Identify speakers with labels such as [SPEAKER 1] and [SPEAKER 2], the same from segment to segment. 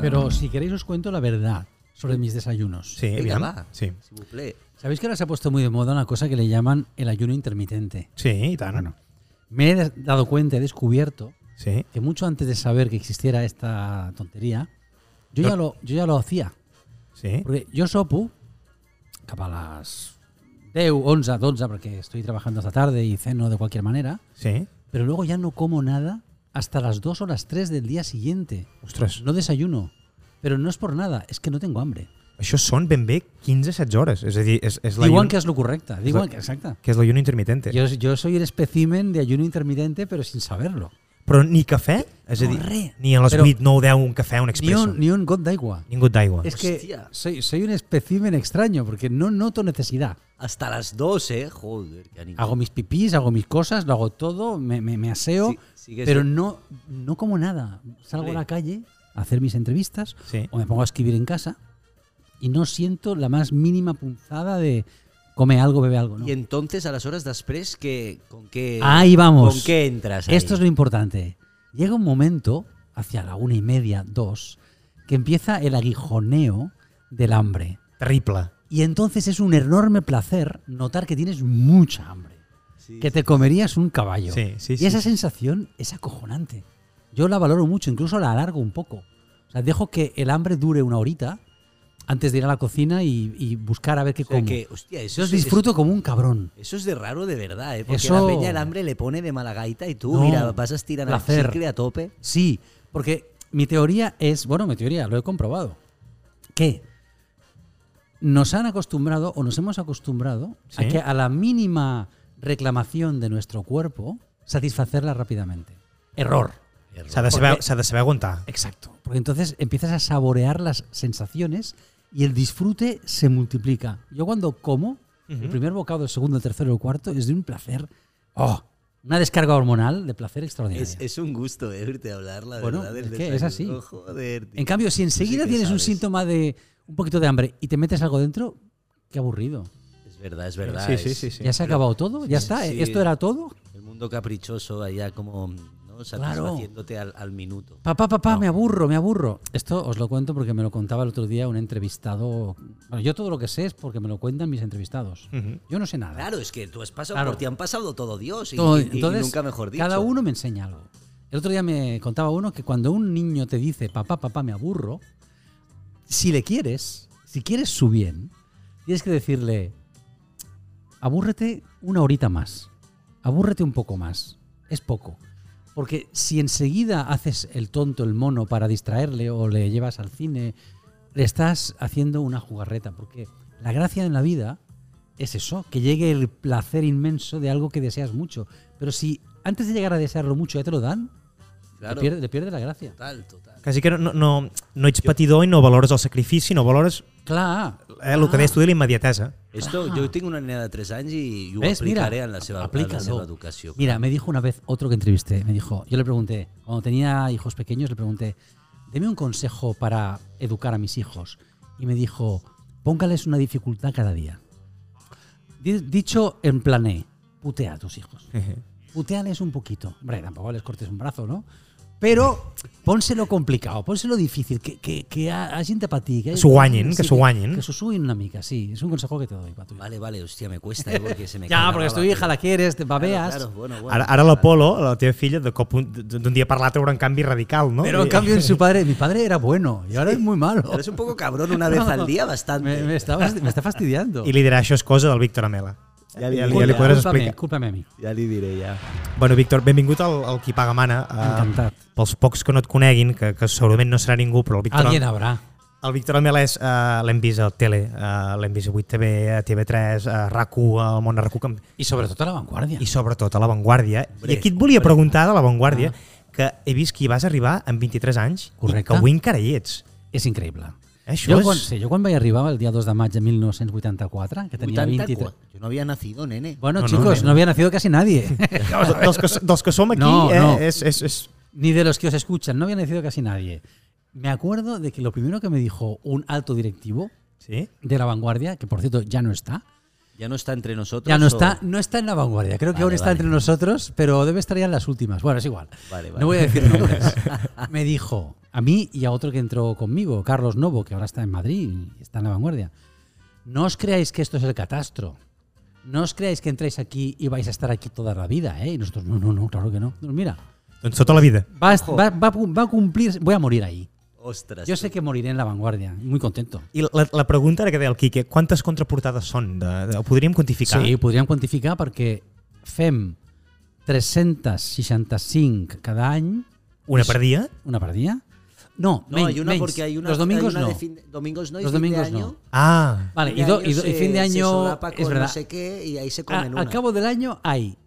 [SPEAKER 1] Pero si queréis os cuento la verdad sobre mis desayunos.
[SPEAKER 2] Sí,
[SPEAKER 3] Venga,
[SPEAKER 2] bien.
[SPEAKER 3] va.
[SPEAKER 2] Sí.
[SPEAKER 3] Si vous plaît.
[SPEAKER 1] ¿Sabéis que ahora se ha puesto muy de moda una cosa que le llaman el ayuno intermitente?
[SPEAKER 2] Sí, y tan.
[SPEAKER 1] Bueno, me he des- dado cuenta, he descubierto
[SPEAKER 2] Sí.
[SPEAKER 1] que mucho antes de saber que existiera esta tontería, yo ya lo, yo ya lo hacía.
[SPEAKER 2] Sí.
[SPEAKER 1] Perquè jo sopo cap a les 10, 11, 12, porque estoy trabajando hasta tarde y ceno de cualquier manera,
[SPEAKER 2] Sí.
[SPEAKER 1] pero luego ya no como nada hasta las 2 o las 3 del día siguiente.
[SPEAKER 2] Ostres,
[SPEAKER 1] No desayuno, pero no es por nada, es que no tengo hambre.
[SPEAKER 2] això són ben bé 15-16 hores. És a dir, és, és l'ayun-
[SPEAKER 1] Igual que es lo correcta, igual que exacta.
[SPEAKER 2] que és l'ayuno intermitente.
[SPEAKER 1] Yo, yo soy el espécimen de ayuno intermitente, pero sin saberlo.
[SPEAKER 2] Però ni cafè? És a
[SPEAKER 1] No,
[SPEAKER 2] dir,
[SPEAKER 1] res.
[SPEAKER 2] ni a les
[SPEAKER 1] Però-
[SPEAKER 2] 8, 9, 10, un cafè, un
[SPEAKER 1] Ni
[SPEAKER 2] expresso.
[SPEAKER 1] un, ni un got de agua.
[SPEAKER 2] Ningú d'aigua.
[SPEAKER 1] Es que
[SPEAKER 3] Hostia.
[SPEAKER 1] soy, soy un espécimen extraño porque no noto necesidad.
[SPEAKER 3] Hasta las 12, joder, qué animal.
[SPEAKER 1] Hago mis pipís, hago mis cosas, lo hago todo, me, me- me aseo,
[SPEAKER 3] Sí, sigue
[SPEAKER 1] pero
[SPEAKER 3] siendo-
[SPEAKER 1] no, no como nada. Salgo a la
[SPEAKER 3] Vale.
[SPEAKER 1] calle a hacer mis entrevistas
[SPEAKER 2] Sí.
[SPEAKER 1] o me pongo a escribir en casa y no siento la más mínima punzada de come algo, bebe algo. ¿no?
[SPEAKER 3] Y entonces a las horas després que con qué
[SPEAKER 1] Ahí vamos.
[SPEAKER 3] con qué entras ahí?
[SPEAKER 1] Esto es lo importante. Llega un momento, hacia la una y media, dos, que empieza el aguijoneo del hambre.
[SPEAKER 2] Terrible.
[SPEAKER 1] Y entonces es un enorme placer notar que tienes mucha hambre.
[SPEAKER 3] Sí,
[SPEAKER 1] que te comerías un caballo.
[SPEAKER 2] Sí, sí,
[SPEAKER 1] y
[SPEAKER 2] sí,
[SPEAKER 1] esa
[SPEAKER 2] sí.
[SPEAKER 1] sensación es acojonante. Yo la valoro mucho, incluso la alargo un poco. O sea, dejo que el hambre dure una horita antes de ir a la cocina y, y buscar a ver qué
[SPEAKER 3] O sea
[SPEAKER 1] como.
[SPEAKER 3] que, hostia, eso
[SPEAKER 1] Yo
[SPEAKER 3] es-
[SPEAKER 1] disfruto como un cabrón.
[SPEAKER 3] Eso es de raro de verdad, ¿eh? Porque
[SPEAKER 1] Eso-
[SPEAKER 3] la peña el hambre le pone de mala gaita y tú,
[SPEAKER 1] No,
[SPEAKER 3] mira, vas a estirar el
[SPEAKER 1] placer.
[SPEAKER 3] chicle a tope.
[SPEAKER 1] Sí, porque mi teoría es, bueno, mi teoría, lo he comprobado, que nos han acostumbrado o nos hemos acostumbrado
[SPEAKER 2] Sí.
[SPEAKER 1] a que a la mínima reclamación de nuestro cuerpo, satisfacerla rápidamente. Error.
[SPEAKER 2] S'ha de, saber, s'ha de saber aguantar.
[SPEAKER 1] Exacto. Porque entonces empiezas a saborear las sensaciones y el disfrute se multiplica. Yo cuando como, el primer bocado, el segundo, el tercero, el cuarto, es de un placer. ¡Oh! Una descarga hormonal de placer extraordinaria.
[SPEAKER 3] Es, es un gusto eh, oírte hablar, la
[SPEAKER 1] Bueno,
[SPEAKER 3] verdad. del
[SPEAKER 1] es que es
[SPEAKER 3] desayuno. Oh,
[SPEAKER 1] así.
[SPEAKER 3] Joder, tío.
[SPEAKER 1] en cambio, si enseguida
[SPEAKER 3] que
[SPEAKER 1] tienes un
[SPEAKER 3] sabes.
[SPEAKER 1] síntoma de un poquito de hambre y te metes algo dentro, qué aburrido.
[SPEAKER 3] Es verdad, es verdad.
[SPEAKER 2] Sí, sí,
[SPEAKER 3] es
[SPEAKER 2] sí, sí.
[SPEAKER 1] ya se ha acabado todo, ya está. eh,
[SPEAKER 3] sí.
[SPEAKER 1] Esto era todo.
[SPEAKER 3] El mundo caprichoso allá como ¿no? satisfaciéndote al, al minuto.
[SPEAKER 1] Papá, papá, me aburro, me aburro. Esto os lo cuento porque me lo contaba el otro día un entrevistado. Bueno, yo todo lo que sé es porque me lo cuentan mis entrevistados.
[SPEAKER 2] Ujú.
[SPEAKER 1] Yo no sé nada.
[SPEAKER 3] Claro, es que tú has pasado
[SPEAKER 1] Claro.
[SPEAKER 3] por ti, han pasado todo Dios y,
[SPEAKER 1] Todo-
[SPEAKER 3] y- y nunca mejor dicho.
[SPEAKER 1] Cada uno me enseña algo. El otro día me contaba uno que cuando un niño te dice, papá, papá, me aburro, si le quieres, si quieres su bien, tienes que decirle, abúrrete una horita más, abúrrete un poco más, es poco. Porque si enseguida haces el tonto, el mono para distraerle o le llevas al cine, le estás haciendo una jugarreta. Porque la gracia en la vida es eso, que llegue el placer inmenso de algo que deseas mucho. Pero si antes de llegar a desearlo mucho ya te lo dan,
[SPEAKER 3] Claro,
[SPEAKER 1] le, pierde, le pierde la gracia.
[SPEAKER 3] total, total.
[SPEAKER 2] Quasi que no, no, no ets patidor i no valores el sacrifici, no valores
[SPEAKER 1] Claro.
[SPEAKER 2] eh, el
[SPEAKER 1] Ah.
[SPEAKER 2] que deies tu de la immediatesa.
[SPEAKER 3] Esto, yo tengo una nena de tres años y yo
[SPEAKER 1] ¿Ves? Mira,
[SPEAKER 3] aplicaré en la seva, en la
[SPEAKER 1] aplícalo.
[SPEAKER 3] seva educación.
[SPEAKER 1] Mira, me dijo una vez otro que entrevisté, me dijo, yo le pregunté, cuando tenía hijos pequeños, le pregunté, deme un consejo para educar a mis hijos. Y me dijo, póngales una dificultad cada día. Di- Dicho en plané, putea a tus hijos. Puteales un poquito. Hombre, tampoco les cortes un brazo, ¿no? Pero pónselo complicado, pónselo difícil, que, que, que ha- hagin de patir. Que,
[SPEAKER 2] S'ho guanyin, que
[SPEAKER 1] sí,
[SPEAKER 2] s'ho guanyin.
[SPEAKER 1] Que s'ho suïn una mica, sí. Es un consejo que te doy para tu hija.
[SPEAKER 3] Vale, vale, hostia, me cuesta eh, porque se me cae
[SPEAKER 1] Ya,
[SPEAKER 3] la
[SPEAKER 1] porque es tu
[SPEAKER 3] baba,
[SPEAKER 1] hija, la quieres, te
[SPEAKER 3] pero-
[SPEAKER 1] babeas.
[SPEAKER 3] Claro, claro, bueno, bueno.
[SPEAKER 2] Ara, ara l'Apolo, la teva filla, de cop un- d'un dia per l'altre veurà un canvi radical, no?
[SPEAKER 1] Pero en
[SPEAKER 2] I-
[SPEAKER 1] cambio en su padre, mi padre era bueno y ahora es muy malo.
[SPEAKER 3] Eres un poco cabrón una vez al día, bastante.
[SPEAKER 1] Me, me está, fasti- me está fastidiando.
[SPEAKER 2] I li dirà, això és cosa del Víctor Amela.
[SPEAKER 3] Ja li-
[SPEAKER 2] ja, li- ja li podràs
[SPEAKER 1] Cúlpame,
[SPEAKER 2] explicar.
[SPEAKER 1] cúlpame a mí.
[SPEAKER 3] Ya le diré, ya.
[SPEAKER 2] Bueno, Víctor, benvingut al, al Qui Paga Mana. Eh,
[SPEAKER 1] Encantat.
[SPEAKER 2] pels pocs que no et coneguin, que, que segurament no serà ningú, però el Víctor,
[SPEAKER 1] Alguien habrá.
[SPEAKER 2] el Víctor Amela és, uh, l'hem vist al tele, uh, l'hem vist a 8TV, a TV3, a RAC1, al món RAC1, que em-
[SPEAKER 1] Y sobre todo a la vanguardia.
[SPEAKER 2] i sobretot a La Vanguardia.
[SPEAKER 3] Hombre,
[SPEAKER 2] I aquí et volia preguntar de La Vanguardia, que he vist que hi vas arribar amb 23 anys i
[SPEAKER 1] Ah. Correcte.
[SPEAKER 2] que avui encara hi ets.
[SPEAKER 1] És increïble.
[SPEAKER 2] Això
[SPEAKER 1] jo,
[SPEAKER 2] és-
[SPEAKER 1] quan, sí, jo quan vaig arribar el dia 2 de maig de 1984, que tenia 23...
[SPEAKER 3] Yo no había nacido, nene.
[SPEAKER 1] Bueno,
[SPEAKER 2] No, no,
[SPEAKER 1] chicos, no,
[SPEAKER 2] nena.
[SPEAKER 1] había nacido casi nadie.
[SPEAKER 2] dels, que, dels que som aquí
[SPEAKER 1] No,
[SPEAKER 2] eh,
[SPEAKER 1] no.
[SPEAKER 2] és... és, és
[SPEAKER 1] Ni de los que os escuchan, no había nacido casi nadie. Me acuerdo de que lo primero que me dijo un alto directivo
[SPEAKER 2] sí?
[SPEAKER 1] de la vanguardia, que por cierto ya no está,
[SPEAKER 3] Ya no está entre nosotros.
[SPEAKER 1] Ya no
[SPEAKER 3] o-
[SPEAKER 1] está, no está en la vanguardia. Creo que
[SPEAKER 3] Vale,
[SPEAKER 1] ahora está
[SPEAKER 3] vale.
[SPEAKER 1] entre nosotros, pero debe estar ya en las últimas. Bueno, es igual.
[SPEAKER 3] Vale, vale.
[SPEAKER 1] No voy a decir nombres. Me dijo, A mí y a otro que entró conmigo, Carlos Novo, que ahora está en Madrid y está en la vanguardia. No os creáis que esto es el catastro. No os creáis que entráis aquí y vais a estar aquí toda la vida, ¿eh? Y nosotros, no, no, no, claro que no. Pues mira,
[SPEAKER 2] Doncs tota la vida.
[SPEAKER 1] va, a-
[SPEAKER 3] Ojo.
[SPEAKER 1] va- va a cum- va a cumplir, voy a morir ahí.
[SPEAKER 3] Ostras.
[SPEAKER 1] Yo sé que moriré en la vanguardia, y muy contento.
[SPEAKER 2] I la, la pregunta ara que deia el Quique, quantes contraportades són? De, de, ho podríem quantificar?
[SPEAKER 1] Sí, ho podríem quantificar perquè fem 365 cada any,
[SPEAKER 2] Una per dia?
[SPEAKER 1] una per dia. No,
[SPEAKER 3] No,
[SPEAKER 1] menys,
[SPEAKER 3] hay una
[SPEAKER 1] menys.
[SPEAKER 3] porque hay una.
[SPEAKER 1] Los domingos
[SPEAKER 3] hay una
[SPEAKER 1] no.
[SPEAKER 3] de fin- domingos no y
[SPEAKER 1] Los
[SPEAKER 3] fin
[SPEAKER 1] domingos
[SPEAKER 3] de
[SPEAKER 1] no.
[SPEAKER 3] año.
[SPEAKER 2] Ah,
[SPEAKER 1] Vale,
[SPEAKER 3] Fin
[SPEAKER 1] y,
[SPEAKER 3] de
[SPEAKER 1] do-
[SPEAKER 3] año Ah,
[SPEAKER 1] y do- y
[SPEAKER 3] se-
[SPEAKER 1] fin de
[SPEAKER 3] se
[SPEAKER 1] año
[SPEAKER 3] solapa
[SPEAKER 1] es
[SPEAKER 3] con
[SPEAKER 1] verdad.
[SPEAKER 3] No sé qué y ahí se
[SPEAKER 1] A-
[SPEAKER 3] comen una.
[SPEAKER 1] al cabo del año hay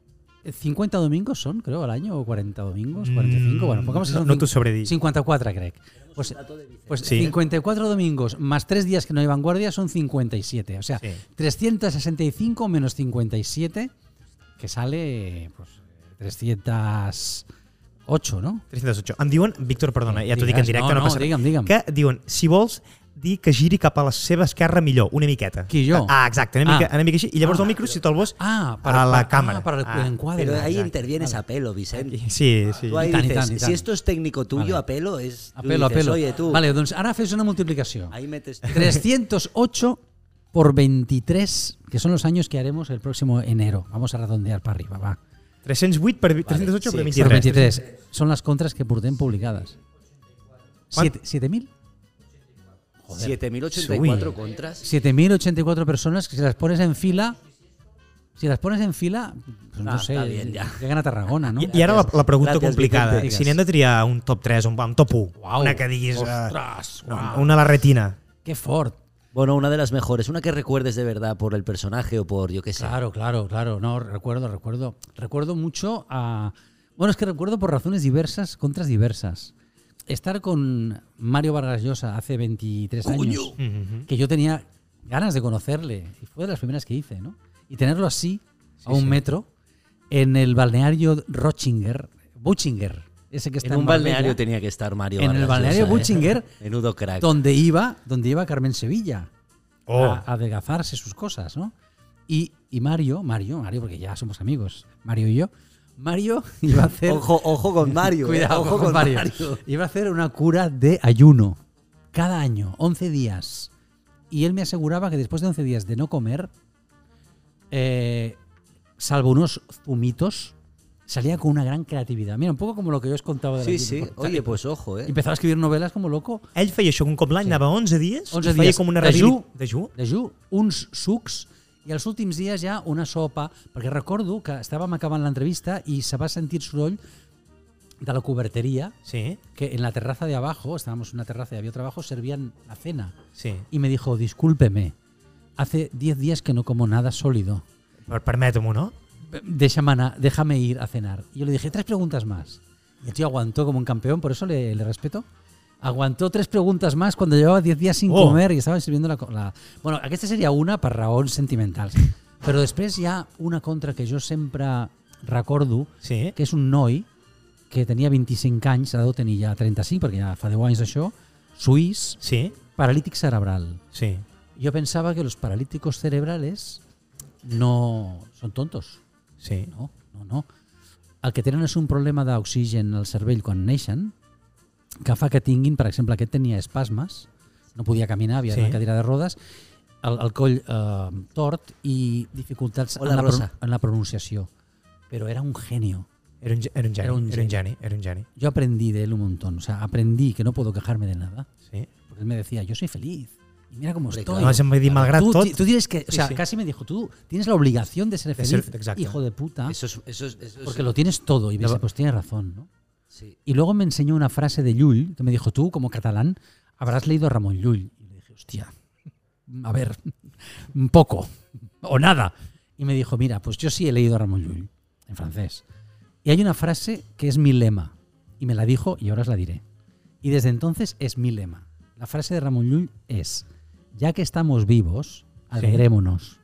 [SPEAKER 1] 50 domingos son, creo, al año o 40 domingos, 45,
[SPEAKER 2] Mm,
[SPEAKER 1] bueno, pongamos que
[SPEAKER 2] no-
[SPEAKER 1] son
[SPEAKER 2] no t'ho
[SPEAKER 1] cin-
[SPEAKER 2] sabré dir.
[SPEAKER 1] 54, creo. Pues,
[SPEAKER 3] Dato de Vicente.
[SPEAKER 1] pues
[SPEAKER 2] Sí.
[SPEAKER 1] 54 domingos más 3 días que no hay vanguardia son 57, o sea,
[SPEAKER 2] Sí.
[SPEAKER 1] 365 menos 57 que sale pues 308, ¿no?
[SPEAKER 2] 308. Em diuen, Víctor, perdona, ja t'ho dic en
[SPEAKER 1] Digues,
[SPEAKER 2] directe,
[SPEAKER 1] no,
[SPEAKER 2] no,
[SPEAKER 1] no,
[SPEAKER 2] passa res.
[SPEAKER 1] digue'm, digue'm.
[SPEAKER 2] Que diuen, si vols dir que giri cap a la seva esquerra millor, una miqueta.
[SPEAKER 1] Qui, jo?
[SPEAKER 2] Ah, exacte, una,
[SPEAKER 1] Ah.
[SPEAKER 2] mica, una mica així. I llavors
[SPEAKER 1] Ah.
[SPEAKER 2] el micro, si te'l vols,
[SPEAKER 1] Ah,
[SPEAKER 2] a la
[SPEAKER 1] ah,
[SPEAKER 2] cámara.
[SPEAKER 1] para el
[SPEAKER 2] Ah,
[SPEAKER 1] encuadre.
[SPEAKER 3] Pero ahí
[SPEAKER 2] Exacto,
[SPEAKER 3] intervienes a pelo, Vicente.
[SPEAKER 2] Sí, sí.
[SPEAKER 3] Tú ahí
[SPEAKER 1] Ni tan, ni
[SPEAKER 3] dices,
[SPEAKER 1] tan, ni tan.
[SPEAKER 3] si esto es técnico tuyo,
[SPEAKER 1] Vale.
[SPEAKER 3] a pelo es. tú
[SPEAKER 1] Apelo,
[SPEAKER 3] dices,
[SPEAKER 1] apelo.
[SPEAKER 3] Oye, tú.
[SPEAKER 1] Vale, doncs ara fes una multiplicació.
[SPEAKER 3] Ahí metes.
[SPEAKER 1] 308 por 23, que son los años que haremos el próximo enero. Vamos a redondear para arriba, va.
[SPEAKER 2] 308 per, vi- 308
[SPEAKER 3] sí,
[SPEAKER 1] Por
[SPEAKER 2] per 23.
[SPEAKER 1] 23. Son las contras que Purten publicadas.
[SPEAKER 2] ¿Cuánto?
[SPEAKER 1] Siete- ¿7.000? Joder.
[SPEAKER 3] 7084
[SPEAKER 2] Uy.
[SPEAKER 3] contras.
[SPEAKER 1] 7.084 personas que si las pones en fila... Si las pones en fila, pues no
[SPEAKER 3] Ah,
[SPEAKER 1] sé,
[SPEAKER 3] está bien, ya.
[SPEAKER 1] llegan a Tarragona, ¿no?
[SPEAKER 2] I, I ara la, la pregunta
[SPEAKER 3] Gràcies,
[SPEAKER 2] complicada.
[SPEAKER 1] Vicente.
[SPEAKER 2] Si n'hem de triar un top 3 o un, un top 1,
[SPEAKER 1] Uau,
[SPEAKER 2] una que diguis... eh,
[SPEAKER 1] ostres,
[SPEAKER 3] ah,
[SPEAKER 1] uau.
[SPEAKER 2] Una a la retina.
[SPEAKER 1] ¡Qué Ford!
[SPEAKER 3] Bueno, una de las mejores, una que recuerdes de verdad por el personaje o por yo qué sé.
[SPEAKER 1] Claro, claro, claro. No, recuerdo, recuerdo. Recuerdo mucho a. Bueno, es que recuerdo por razones diversas, contras diversas. Estar con Mario Vargas Llosa hace 23 años,
[SPEAKER 2] Mhm.
[SPEAKER 1] que yo tenía ganas de conocerle, y fue de las primeras que hice, ¿no? Y tenerlo así, a un metro, en el balneario Rochinger, Buchinger, ese que está
[SPEAKER 3] En un
[SPEAKER 1] Marbella,
[SPEAKER 3] balneario tenía que estar Mario.
[SPEAKER 1] En el
[SPEAKER 3] Vargas
[SPEAKER 1] balneario
[SPEAKER 3] Llosa, ¿eh?
[SPEAKER 1] Butchinger,
[SPEAKER 3] Menudo crack.
[SPEAKER 1] donde iba, donde iba Carmen Sevilla
[SPEAKER 2] Oh.
[SPEAKER 1] a a adelgazarse sus cosas, ¿no? Y, y Mario, Mario, Mario, porque ya somos amigos, Mario y yo, Mario iba a hacer.
[SPEAKER 3] Ojo, ojo con Mario. eh,
[SPEAKER 1] cuidado
[SPEAKER 3] ojo
[SPEAKER 1] con Mario. Iba a hacer una cura de ayuno cada año, 11 días. Y él me aseguraba que después de 11 días de no comer, eh, salvo unos zumitos, salía con una gran creatividad. Mira, un poco como lo que yo os contaba de la
[SPEAKER 3] Sí,
[SPEAKER 1] Jimmy
[SPEAKER 3] sí.
[SPEAKER 1] Fallon.
[SPEAKER 3] Oye, pues ojo, ¿eh?
[SPEAKER 1] Empezaba a escribir novelas como loco
[SPEAKER 2] Ell feia això un cop l'any, anava 11 dies,
[SPEAKER 1] 11
[SPEAKER 2] i feia
[SPEAKER 1] dies
[SPEAKER 2] com una
[SPEAKER 1] de
[SPEAKER 2] rehabil-
[SPEAKER 1] ju.
[SPEAKER 2] De ju?
[SPEAKER 1] dejú, uns sucs i els últims dies ja una sopa, perquè recordo que estàvem acabant l'entrevista i se va sentir soroll de la coberteria,
[SPEAKER 2] Sí,
[SPEAKER 1] que en la terraza de abajo, estábamos en una terraza y había otro abajo, servían la cena.
[SPEAKER 2] sí.
[SPEAKER 1] Y me dijo, discúlpeme, hace 10 días que no como nada sólido.
[SPEAKER 2] Per, Permeto-m'ho, no?
[SPEAKER 1] Déjame, ana- déjame ir a cenar. Y yo le dije, tres preguntas más. Y el tío aguantó como un campeón, por eso le, le respeto. Aguantó tres preguntas más cuando llevaba 10 días sin
[SPEAKER 2] Oh.
[SPEAKER 1] comer y estaba sirviendo la, co- la... Bueno, aquesta seria una per raons sentimentals. Però després hi ha una contra que jo sempre recordo,
[SPEAKER 2] Sí.
[SPEAKER 1] que és un noi que tenia 25 anys, ara deu tenir ja 35, perquè ja fa 10 anys d'això, suís,
[SPEAKER 2] Sí,
[SPEAKER 1] paralític cerebral.
[SPEAKER 2] sí.
[SPEAKER 1] Jo pensava que los paralíticos cerebrales no són tontos.
[SPEAKER 2] Sí.
[SPEAKER 1] No, no, no. El que tenen és un problema d'oxigen al cervell quan neixen, que fa que tinguin, per exemple, aquest tenia espasmes, no podia caminar, havia
[SPEAKER 2] Sí.
[SPEAKER 1] sí. la cadira de rodes, el, el coll eh, tort i dificultats
[SPEAKER 3] Hola,
[SPEAKER 1] en, la
[SPEAKER 3] Rosa.
[SPEAKER 1] en la pronunciació. Però era un genio.
[SPEAKER 2] Era un, ge- era un geni, era un geni, era un geni. Era un geni.
[SPEAKER 1] Yo aprendí de él un montón. O sea, aprendí que no puedo quejarme de nada.
[SPEAKER 2] Sí.
[SPEAKER 1] Porque él me decía, yo soy feliz. Y mira cómo
[SPEAKER 3] Hombre,
[SPEAKER 1] estoy.
[SPEAKER 3] claro.
[SPEAKER 2] No, se em va dir, malgrat
[SPEAKER 1] tú,
[SPEAKER 2] tot...
[SPEAKER 1] ti- tú tienes que, o
[SPEAKER 2] Sí,
[SPEAKER 1] sea,
[SPEAKER 2] sí.
[SPEAKER 1] casi me dijo, tú tienes la obligación de ser
[SPEAKER 2] De
[SPEAKER 1] feliz,
[SPEAKER 2] ser- exacto.
[SPEAKER 1] hijo de puta,
[SPEAKER 3] Eso es. Eso es, eso es-
[SPEAKER 1] porque lo tienes todo. Y me
[SPEAKER 2] No.
[SPEAKER 1] dice, pues tienes razón, ¿no?
[SPEAKER 3] sí.
[SPEAKER 1] Y luego me enseñó una frase de Llull que me dijo, tú, como catalán, habrás leído a Ramón Llull. Y le dije, hostia, a ver, un poco o nada. Y me dijo, mira, pues yo sí he leído a Ramón Llull en francés. Y hay una frase que es mi lema. Y me la dijo y ahora os la diré. Y desde entonces es mi lema. La frase de Ramón Llull es, ya que estamos vivos, alegrémonos.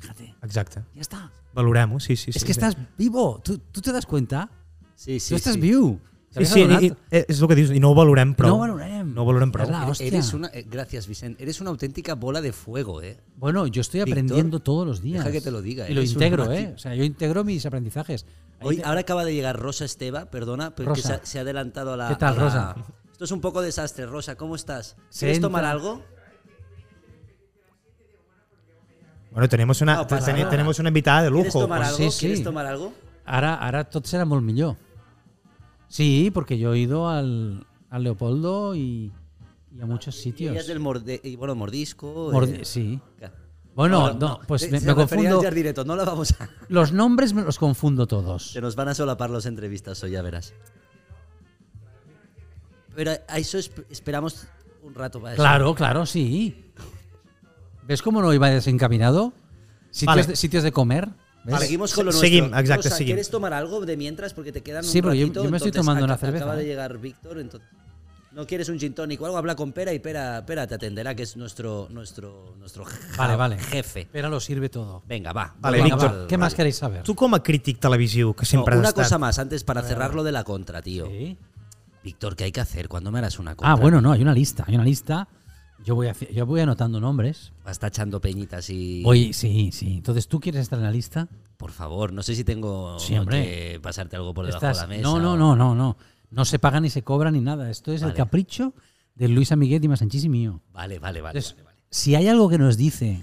[SPEAKER 1] Fíjate,
[SPEAKER 2] Exacte.
[SPEAKER 1] ya está.
[SPEAKER 2] Valorem-ho, sí, sí.
[SPEAKER 1] es
[SPEAKER 2] sí,
[SPEAKER 1] que
[SPEAKER 2] sí.
[SPEAKER 1] estás vivo. ¿Tú, tú te das cuenta?
[SPEAKER 3] Sí, sí.
[SPEAKER 1] tú estás
[SPEAKER 3] sí.
[SPEAKER 1] vivo.
[SPEAKER 2] Sí, sí, i, i, eh, és el que dius, i no ho valorem prou.
[SPEAKER 1] No ho valorem.
[SPEAKER 2] No ho valorem prou.
[SPEAKER 1] És la- Ah, hostia.
[SPEAKER 3] Eres una, eh, gracias, Vicente. Eres una auténtica bola de fuego, ¿eh?
[SPEAKER 1] Bueno, yo estoy
[SPEAKER 3] Víctor,
[SPEAKER 1] aprendiendo todos los días.
[SPEAKER 3] deja que te lo diga,
[SPEAKER 1] Y lo
[SPEAKER 3] eres un
[SPEAKER 1] integro,
[SPEAKER 3] máquina.
[SPEAKER 1] ¿eh? O sea, yo integro mis aprendizajes. Ahí
[SPEAKER 3] Hoy,
[SPEAKER 1] te-
[SPEAKER 3] ahora acaba de llegar Rosa Esteva, perdona, pero que
[SPEAKER 1] Rosa.
[SPEAKER 3] se ha, se ha adelantado a la.
[SPEAKER 1] ¿Qué tal,
[SPEAKER 3] a la-
[SPEAKER 1] Rosa?
[SPEAKER 3] Esto es un poco desastre, Rosa. ¿Cómo estás?
[SPEAKER 1] Se
[SPEAKER 3] ¿Quieres tomar
[SPEAKER 1] entra-
[SPEAKER 3] algo?
[SPEAKER 2] Bueno, tenemos una,
[SPEAKER 3] No pasa
[SPEAKER 2] teni-
[SPEAKER 3] nada.
[SPEAKER 2] tenemos una invitada de
[SPEAKER 3] ¿Quieres
[SPEAKER 2] lujo.
[SPEAKER 3] tomar
[SPEAKER 1] pues
[SPEAKER 3] algo?
[SPEAKER 1] sí,
[SPEAKER 3] ¿Quieres
[SPEAKER 1] sí.
[SPEAKER 3] tomar algo?
[SPEAKER 1] Ara, ara tot serà molt millor. Sí, porque yo he ido al, al Leopoldo y, y a muchos
[SPEAKER 3] Y
[SPEAKER 1] sitios.
[SPEAKER 3] ella es Ah, del morde- y, bueno, mordisco.
[SPEAKER 1] Morde-
[SPEAKER 3] eh,
[SPEAKER 1] sí.
[SPEAKER 3] ca-
[SPEAKER 1] Bueno, no, pues
[SPEAKER 3] se-
[SPEAKER 1] me,
[SPEAKER 3] eh, se
[SPEAKER 1] me
[SPEAKER 3] refería al
[SPEAKER 1] confundo.
[SPEAKER 3] Jardineto, no la vamos a.
[SPEAKER 1] Los nombres me los confundo todos.
[SPEAKER 3] Se nos van a solapar las entrevistas hoy, ya verás. Pero a eso esp- esperamos un rato para eso.
[SPEAKER 1] Claro, claro, sí. ¿Ves cómo no iba desencaminado? Sitios,
[SPEAKER 2] Vale.
[SPEAKER 1] de, sitios de comer. ¿ves?
[SPEAKER 3] Vale, Seguimos con lo
[SPEAKER 2] Se-
[SPEAKER 3] nuestro.
[SPEAKER 2] seguim, exacte,
[SPEAKER 3] Rosa,
[SPEAKER 2] seguim.
[SPEAKER 3] ¿Quieres tomar algo de mientras? Porque te quedan
[SPEAKER 1] Sí,
[SPEAKER 3] un
[SPEAKER 1] pero yo-
[SPEAKER 3] ratito,
[SPEAKER 1] yo me estoy
[SPEAKER 3] entonces
[SPEAKER 1] tomando una
[SPEAKER 3] aca-
[SPEAKER 1] cerveza,
[SPEAKER 3] Acaba de
[SPEAKER 1] ¿eh?
[SPEAKER 3] llegar Víctor, entonces... ¿No quieres un gin tonic o algo? Habla con Pera y Pera, Pera te atenderá, que es nuestro, nuestro, nuestro
[SPEAKER 1] Vale,
[SPEAKER 3] ja-
[SPEAKER 1] vale.
[SPEAKER 3] jefe.
[SPEAKER 1] Pero lo sirve todo.
[SPEAKER 3] Venga, va.
[SPEAKER 2] Vale,
[SPEAKER 1] Venga,
[SPEAKER 3] volvamos
[SPEAKER 2] Víctor.
[SPEAKER 1] va,
[SPEAKER 3] al-
[SPEAKER 1] ¿Qué más
[SPEAKER 3] al-
[SPEAKER 1] queréis saber?
[SPEAKER 2] Tu com a crític televisiu, que
[SPEAKER 3] No,
[SPEAKER 2] sempre has
[SPEAKER 3] una
[SPEAKER 2] estat...
[SPEAKER 3] cosa más, antes para cerrar lo de la contra, tío.
[SPEAKER 1] Ah. Sí.
[SPEAKER 3] Víctor, ¿qué hay que hacer? ¿Cuándo me harás una contra?
[SPEAKER 1] Ah, bueno, no, hay una lista. Hay una lista. Yo voy, haci- yo voy anotando nombres.
[SPEAKER 3] Vas tachando peñitas y...
[SPEAKER 1] Oye, sí, sí. Entonces, ¿tú quieres estar en la lista?
[SPEAKER 3] Por favor, no sé si tengo
[SPEAKER 1] Sí, hombre.
[SPEAKER 3] que pasarte algo por debajo
[SPEAKER 1] Estás-
[SPEAKER 3] de la mesa.
[SPEAKER 1] no, no,
[SPEAKER 3] o-
[SPEAKER 1] no, no, no. No se paga ni se cobra ni nada. Esto es el
[SPEAKER 3] Vale.
[SPEAKER 1] capricho de Luis Amiguet y Masanchís y mío.
[SPEAKER 3] Vale, vale, vale.
[SPEAKER 1] Entonces,
[SPEAKER 3] vale, vale.
[SPEAKER 1] si hay algo que nos dice,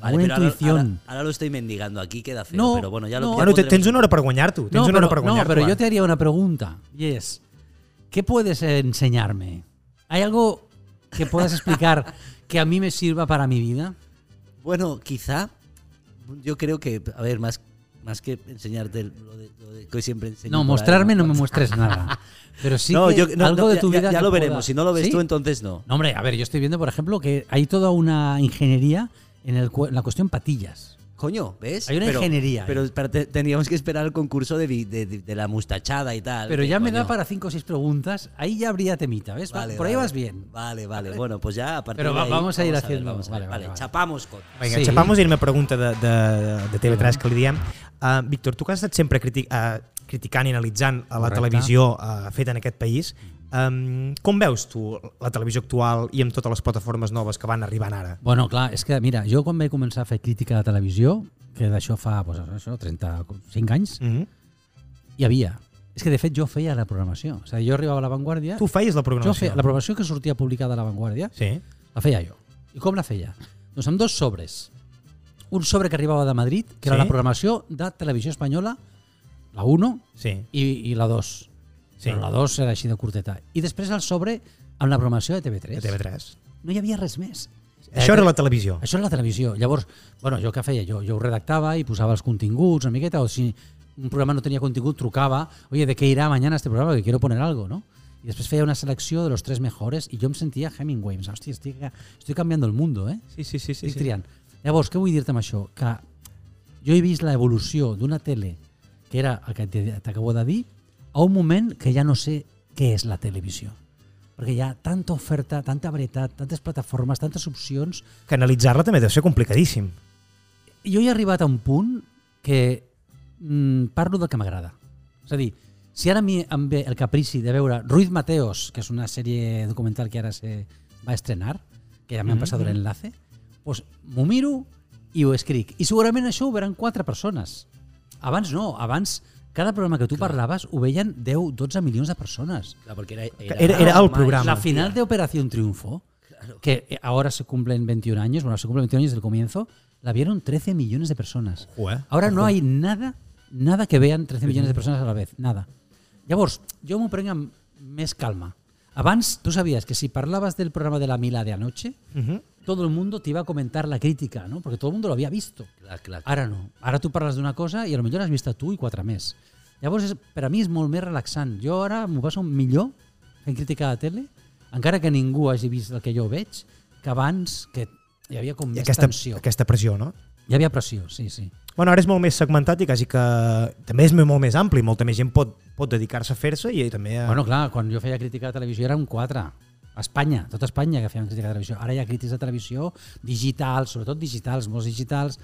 [SPEAKER 3] Vale,
[SPEAKER 1] alguna
[SPEAKER 3] pero ahora-
[SPEAKER 1] intuición.
[SPEAKER 3] Ahora, ahora lo estoy mendigando, aquí queda feo,
[SPEAKER 1] No,
[SPEAKER 3] pero bueno, ya lo
[SPEAKER 1] no.
[SPEAKER 3] ya
[SPEAKER 2] Bueno, te-
[SPEAKER 3] pondremos-
[SPEAKER 2] tens una hora per guanyar-t'ho. Tens
[SPEAKER 1] no,
[SPEAKER 2] una
[SPEAKER 1] pero,
[SPEAKER 2] hora per
[SPEAKER 1] no,
[SPEAKER 2] guanyar-t'ho.
[SPEAKER 1] pero yo
[SPEAKER 2] ara.
[SPEAKER 1] te haría una pregunta. Y es, ¿qué puedes enseñarme? ¿Hay algo que puedas explicar que a mí me sirva para mi vida?
[SPEAKER 3] Bueno, quizá, yo creo que, a ver, más, más que enseñarte lo, de, lo de- que hoy siempre enseño.
[SPEAKER 1] No,
[SPEAKER 3] por ahí,
[SPEAKER 1] mostrarme no me muestres nada. Pero sí
[SPEAKER 3] No,
[SPEAKER 1] que
[SPEAKER 3] yo- no,
[SPEAKER 1] algo
[SPEAKER 3] no,
[SPEAKER 1] de
[SPEAKER 3] ya-
[SPEAKER 1] tu
[SPEAKER 3] ya-
[SPEAKER 1] vida
[SPEAKER 3] Ya,
[SPEAKER 1] que
[SPEAKER 3] lo
[SPEAKER 1] pueda-
[SPEAKER 3] veremos, si no lo ves
[SPEAKER 1] ¿Sí?
[SPEAKER 3] tú, entonces no.
[SPEAKER 1] No, hombre, a ver, yo estoy viendo, por ejemplo, que hay toda una ingeniería en, el cu- en la cuestión patillas.
[SPEAKER 3] Coño, ¿ves?
[SPEAKER 1] Hay una ingeniería ahí.
[SPEAKER 3] Pero, espera, te- teníamos que esperar el concurso de, vi- de- de- de la mustachada y tal.
[SPEAKER 1] Pero
[SPEAKER 3] que,
[SPEAKER 1] ya me da
[SPEAKER 3] coño.
[SPEAKER 1] para cinco o seis preguntas, ahí ya habría temita, ¿ves? Va-
[SPEAKER 3] Vale,
[SPEAKER 1] por ahí
[SPEAKER 3] vale.
[SPEAKER 1] vas bien.
[SPEAKER 3] Vale, vale. Bueno, pues ya a partir
[SPEAKER 1] Pero
[SPEAKER 3] de
[SPEAKER 1] va-
[SPEAKER 3] ahí,
[SPEAKER 1] vamos a ir
[SPEAKER 3] ver,
[SPEAKER 1] haciendo-
[SPEAKER 3] vamos a ver.
[SPEAKER 1] vale,
[SPEAKER 3] Vale,
[SPEAKER 1] vale, vale.
[SPEAKER 3] chapamos con.
[SPEAKER 2] Vinga,
[SPEAKER 1] Sí.
[SPEAKER 2] xapamos i anem a pregunta de, de, de TV3 que li diem. Uh, Víctor, tu que has estat sempre criti uh, criticant i analitzant a la
[SPEAKER 1] Correcte.
[SPEAKER 2] televisió uh, feta en aquest país, um, com veus tu la televisió actual i amb totes les plataformes noves que van arribant ara?
[SPEAKER 1] Bueno, clar, és que, mira, jo quan vaig començar a fer crítica de televisió, que d'això fa, pues, això, 35 anys,
[SPEAKER 2] Mm -hmm.
[SPEAKER 1] hi havia. És que, de fet, jo feia la programació. És a dir, jo arribava a La Vanguardia,
[SPEAKER 2] Tu feies la
[SPEAKER 1] jo
[SPEAKER 2] programació?
[SPEAKER 1] feia, la programació que sortia publicada a La Vanguardia,
[SPEAKER 2] Sí.
[SPEAKER 1] La feia jo. I com la feia? Doncs amb dos sobres. Un sobre que arribava de Madrid, que sí? era
[SPEAKER 2] Sí?
[SPEAKER 1] la programació de Televisió Espanyola, la 1
[SPEAKER 2] Sí.
[SPEAKER 1] i, i la 2.
[SPEAKER 2] Sí.
[SPEAKER 1] Sí. Però la 2 era així de curteta. I després el sobre amb la programació de TV3.
[SPEAKER 2] De TV3.
[SPEAKER 1] No hi havia res més.
[SPEAKER 2] Això era la televisió.
[SPEAKER 1] Eh, Això era la televisió. Llavors, bueno, jo què feia? Jo, jo ho redactava i posava els continguts una miqueta, o si un programa no tenia contingut, trucava, oye, ¿de qué irá mañana este programa? Que quiero poner algo, ¿no? Y después feia una selecció de los tres mejores i jo em sentia Hemingway. Em pensava, Hòstia, estic, estic canviando el mundo, eh?
[SPEAKER 2] Sí, sí, sí. sí,
[SPEAKER 1] Estic triant. Llavors, què vull dir-te amb això? Que jo he vist l'evolució d'una tele, que era el que t'he- t'acabo de dir, a un moment que ja no sé què és la televisió. Perquè hi ha tanta oferta, tanta varietat, tantes plataformes, tantes opcions,
[SPEAKER 2] Canalitzar-la també deu ser complicadíssim.
[SPEAKER 1] jo he arribat a un punt que mm, parlo del que m'agrada. És a dir, si ara a mi em ve el caprici de veure Ruiz Mateos, que és una sèrie documental que ara se va estrenar, que ja
[SPEAKER 3] Mm-hmm.
[SPEAKER 1] m'han
[SPEAKER 2] Mhm.
[SPEAKER 1] passat el enlace, doncs m'ho miro i ho escric. I segurament això ho veuran quatre persones. Abans no, abans cada programa que tu parlaves ho veien 10-12 milions de persones.
[SPEAKER 3] Clar, perquè era,
[SPEAKER 2] Era- era el
[SPEAKER 3] mai-
[SPEAKER 2] programa.
[SPEAKER 1] La final de Operación Triunfo, que eh, ahora se cumplen 21 años, bueno, se cumplen 21 años del comienzo, la vieron 13 millones de personas.
[SPEAKER 2] Ojo, eh.
[SPEAKER 1] Ahora no hay nada, nada que vean 13 millones de personas a la vez, nada. Llavors, jo m'ho prenc amb més calma. Abans, tu sabies que si parlabas del programa de la Mila de anoche,
[SPEAKER 2] Uh -huh.
[SPEAKER 1] todo el mundo te iba a comentar la crítica, ¿no? Porque todo el mundo lo había visto.
[SPEAKER 3] Clar, clar, clar.
[SPEAKER 1] Ara no. Ara tu parles d'una cosa i a lo millor l'has vist tu i quatre més. Llavors, és, per a mi és molt més relaxant. Jo ara m'ho passo millor fent crítica de tele, encara que ningú hagi vist el que jo veig, que abans que hi havia com
[SPEAKER 2] I
[SPEAKER 1] més
[SPEAKER 2] aquesta,
[SPEAKER 1] tensió.
[SPEAKER 2] aquesta pressió, no?
[SPEAKER 1] Hi havia pressió, sí, sí.
[SPEAKER 2] Bueno, ara és molt més segmentat i quasi que també és molt més ampli, molta més gent pot, pot dedicar-se a fer-se i també... A...
[SPEAKER 1] Bueno, clar, quan jo feia crítica de televisió era un 4. A Espanya, tota Espanya que feien crítica de televisió. Ara hi ha crítics de televisió digitals, sobretot digitals, molts digitals.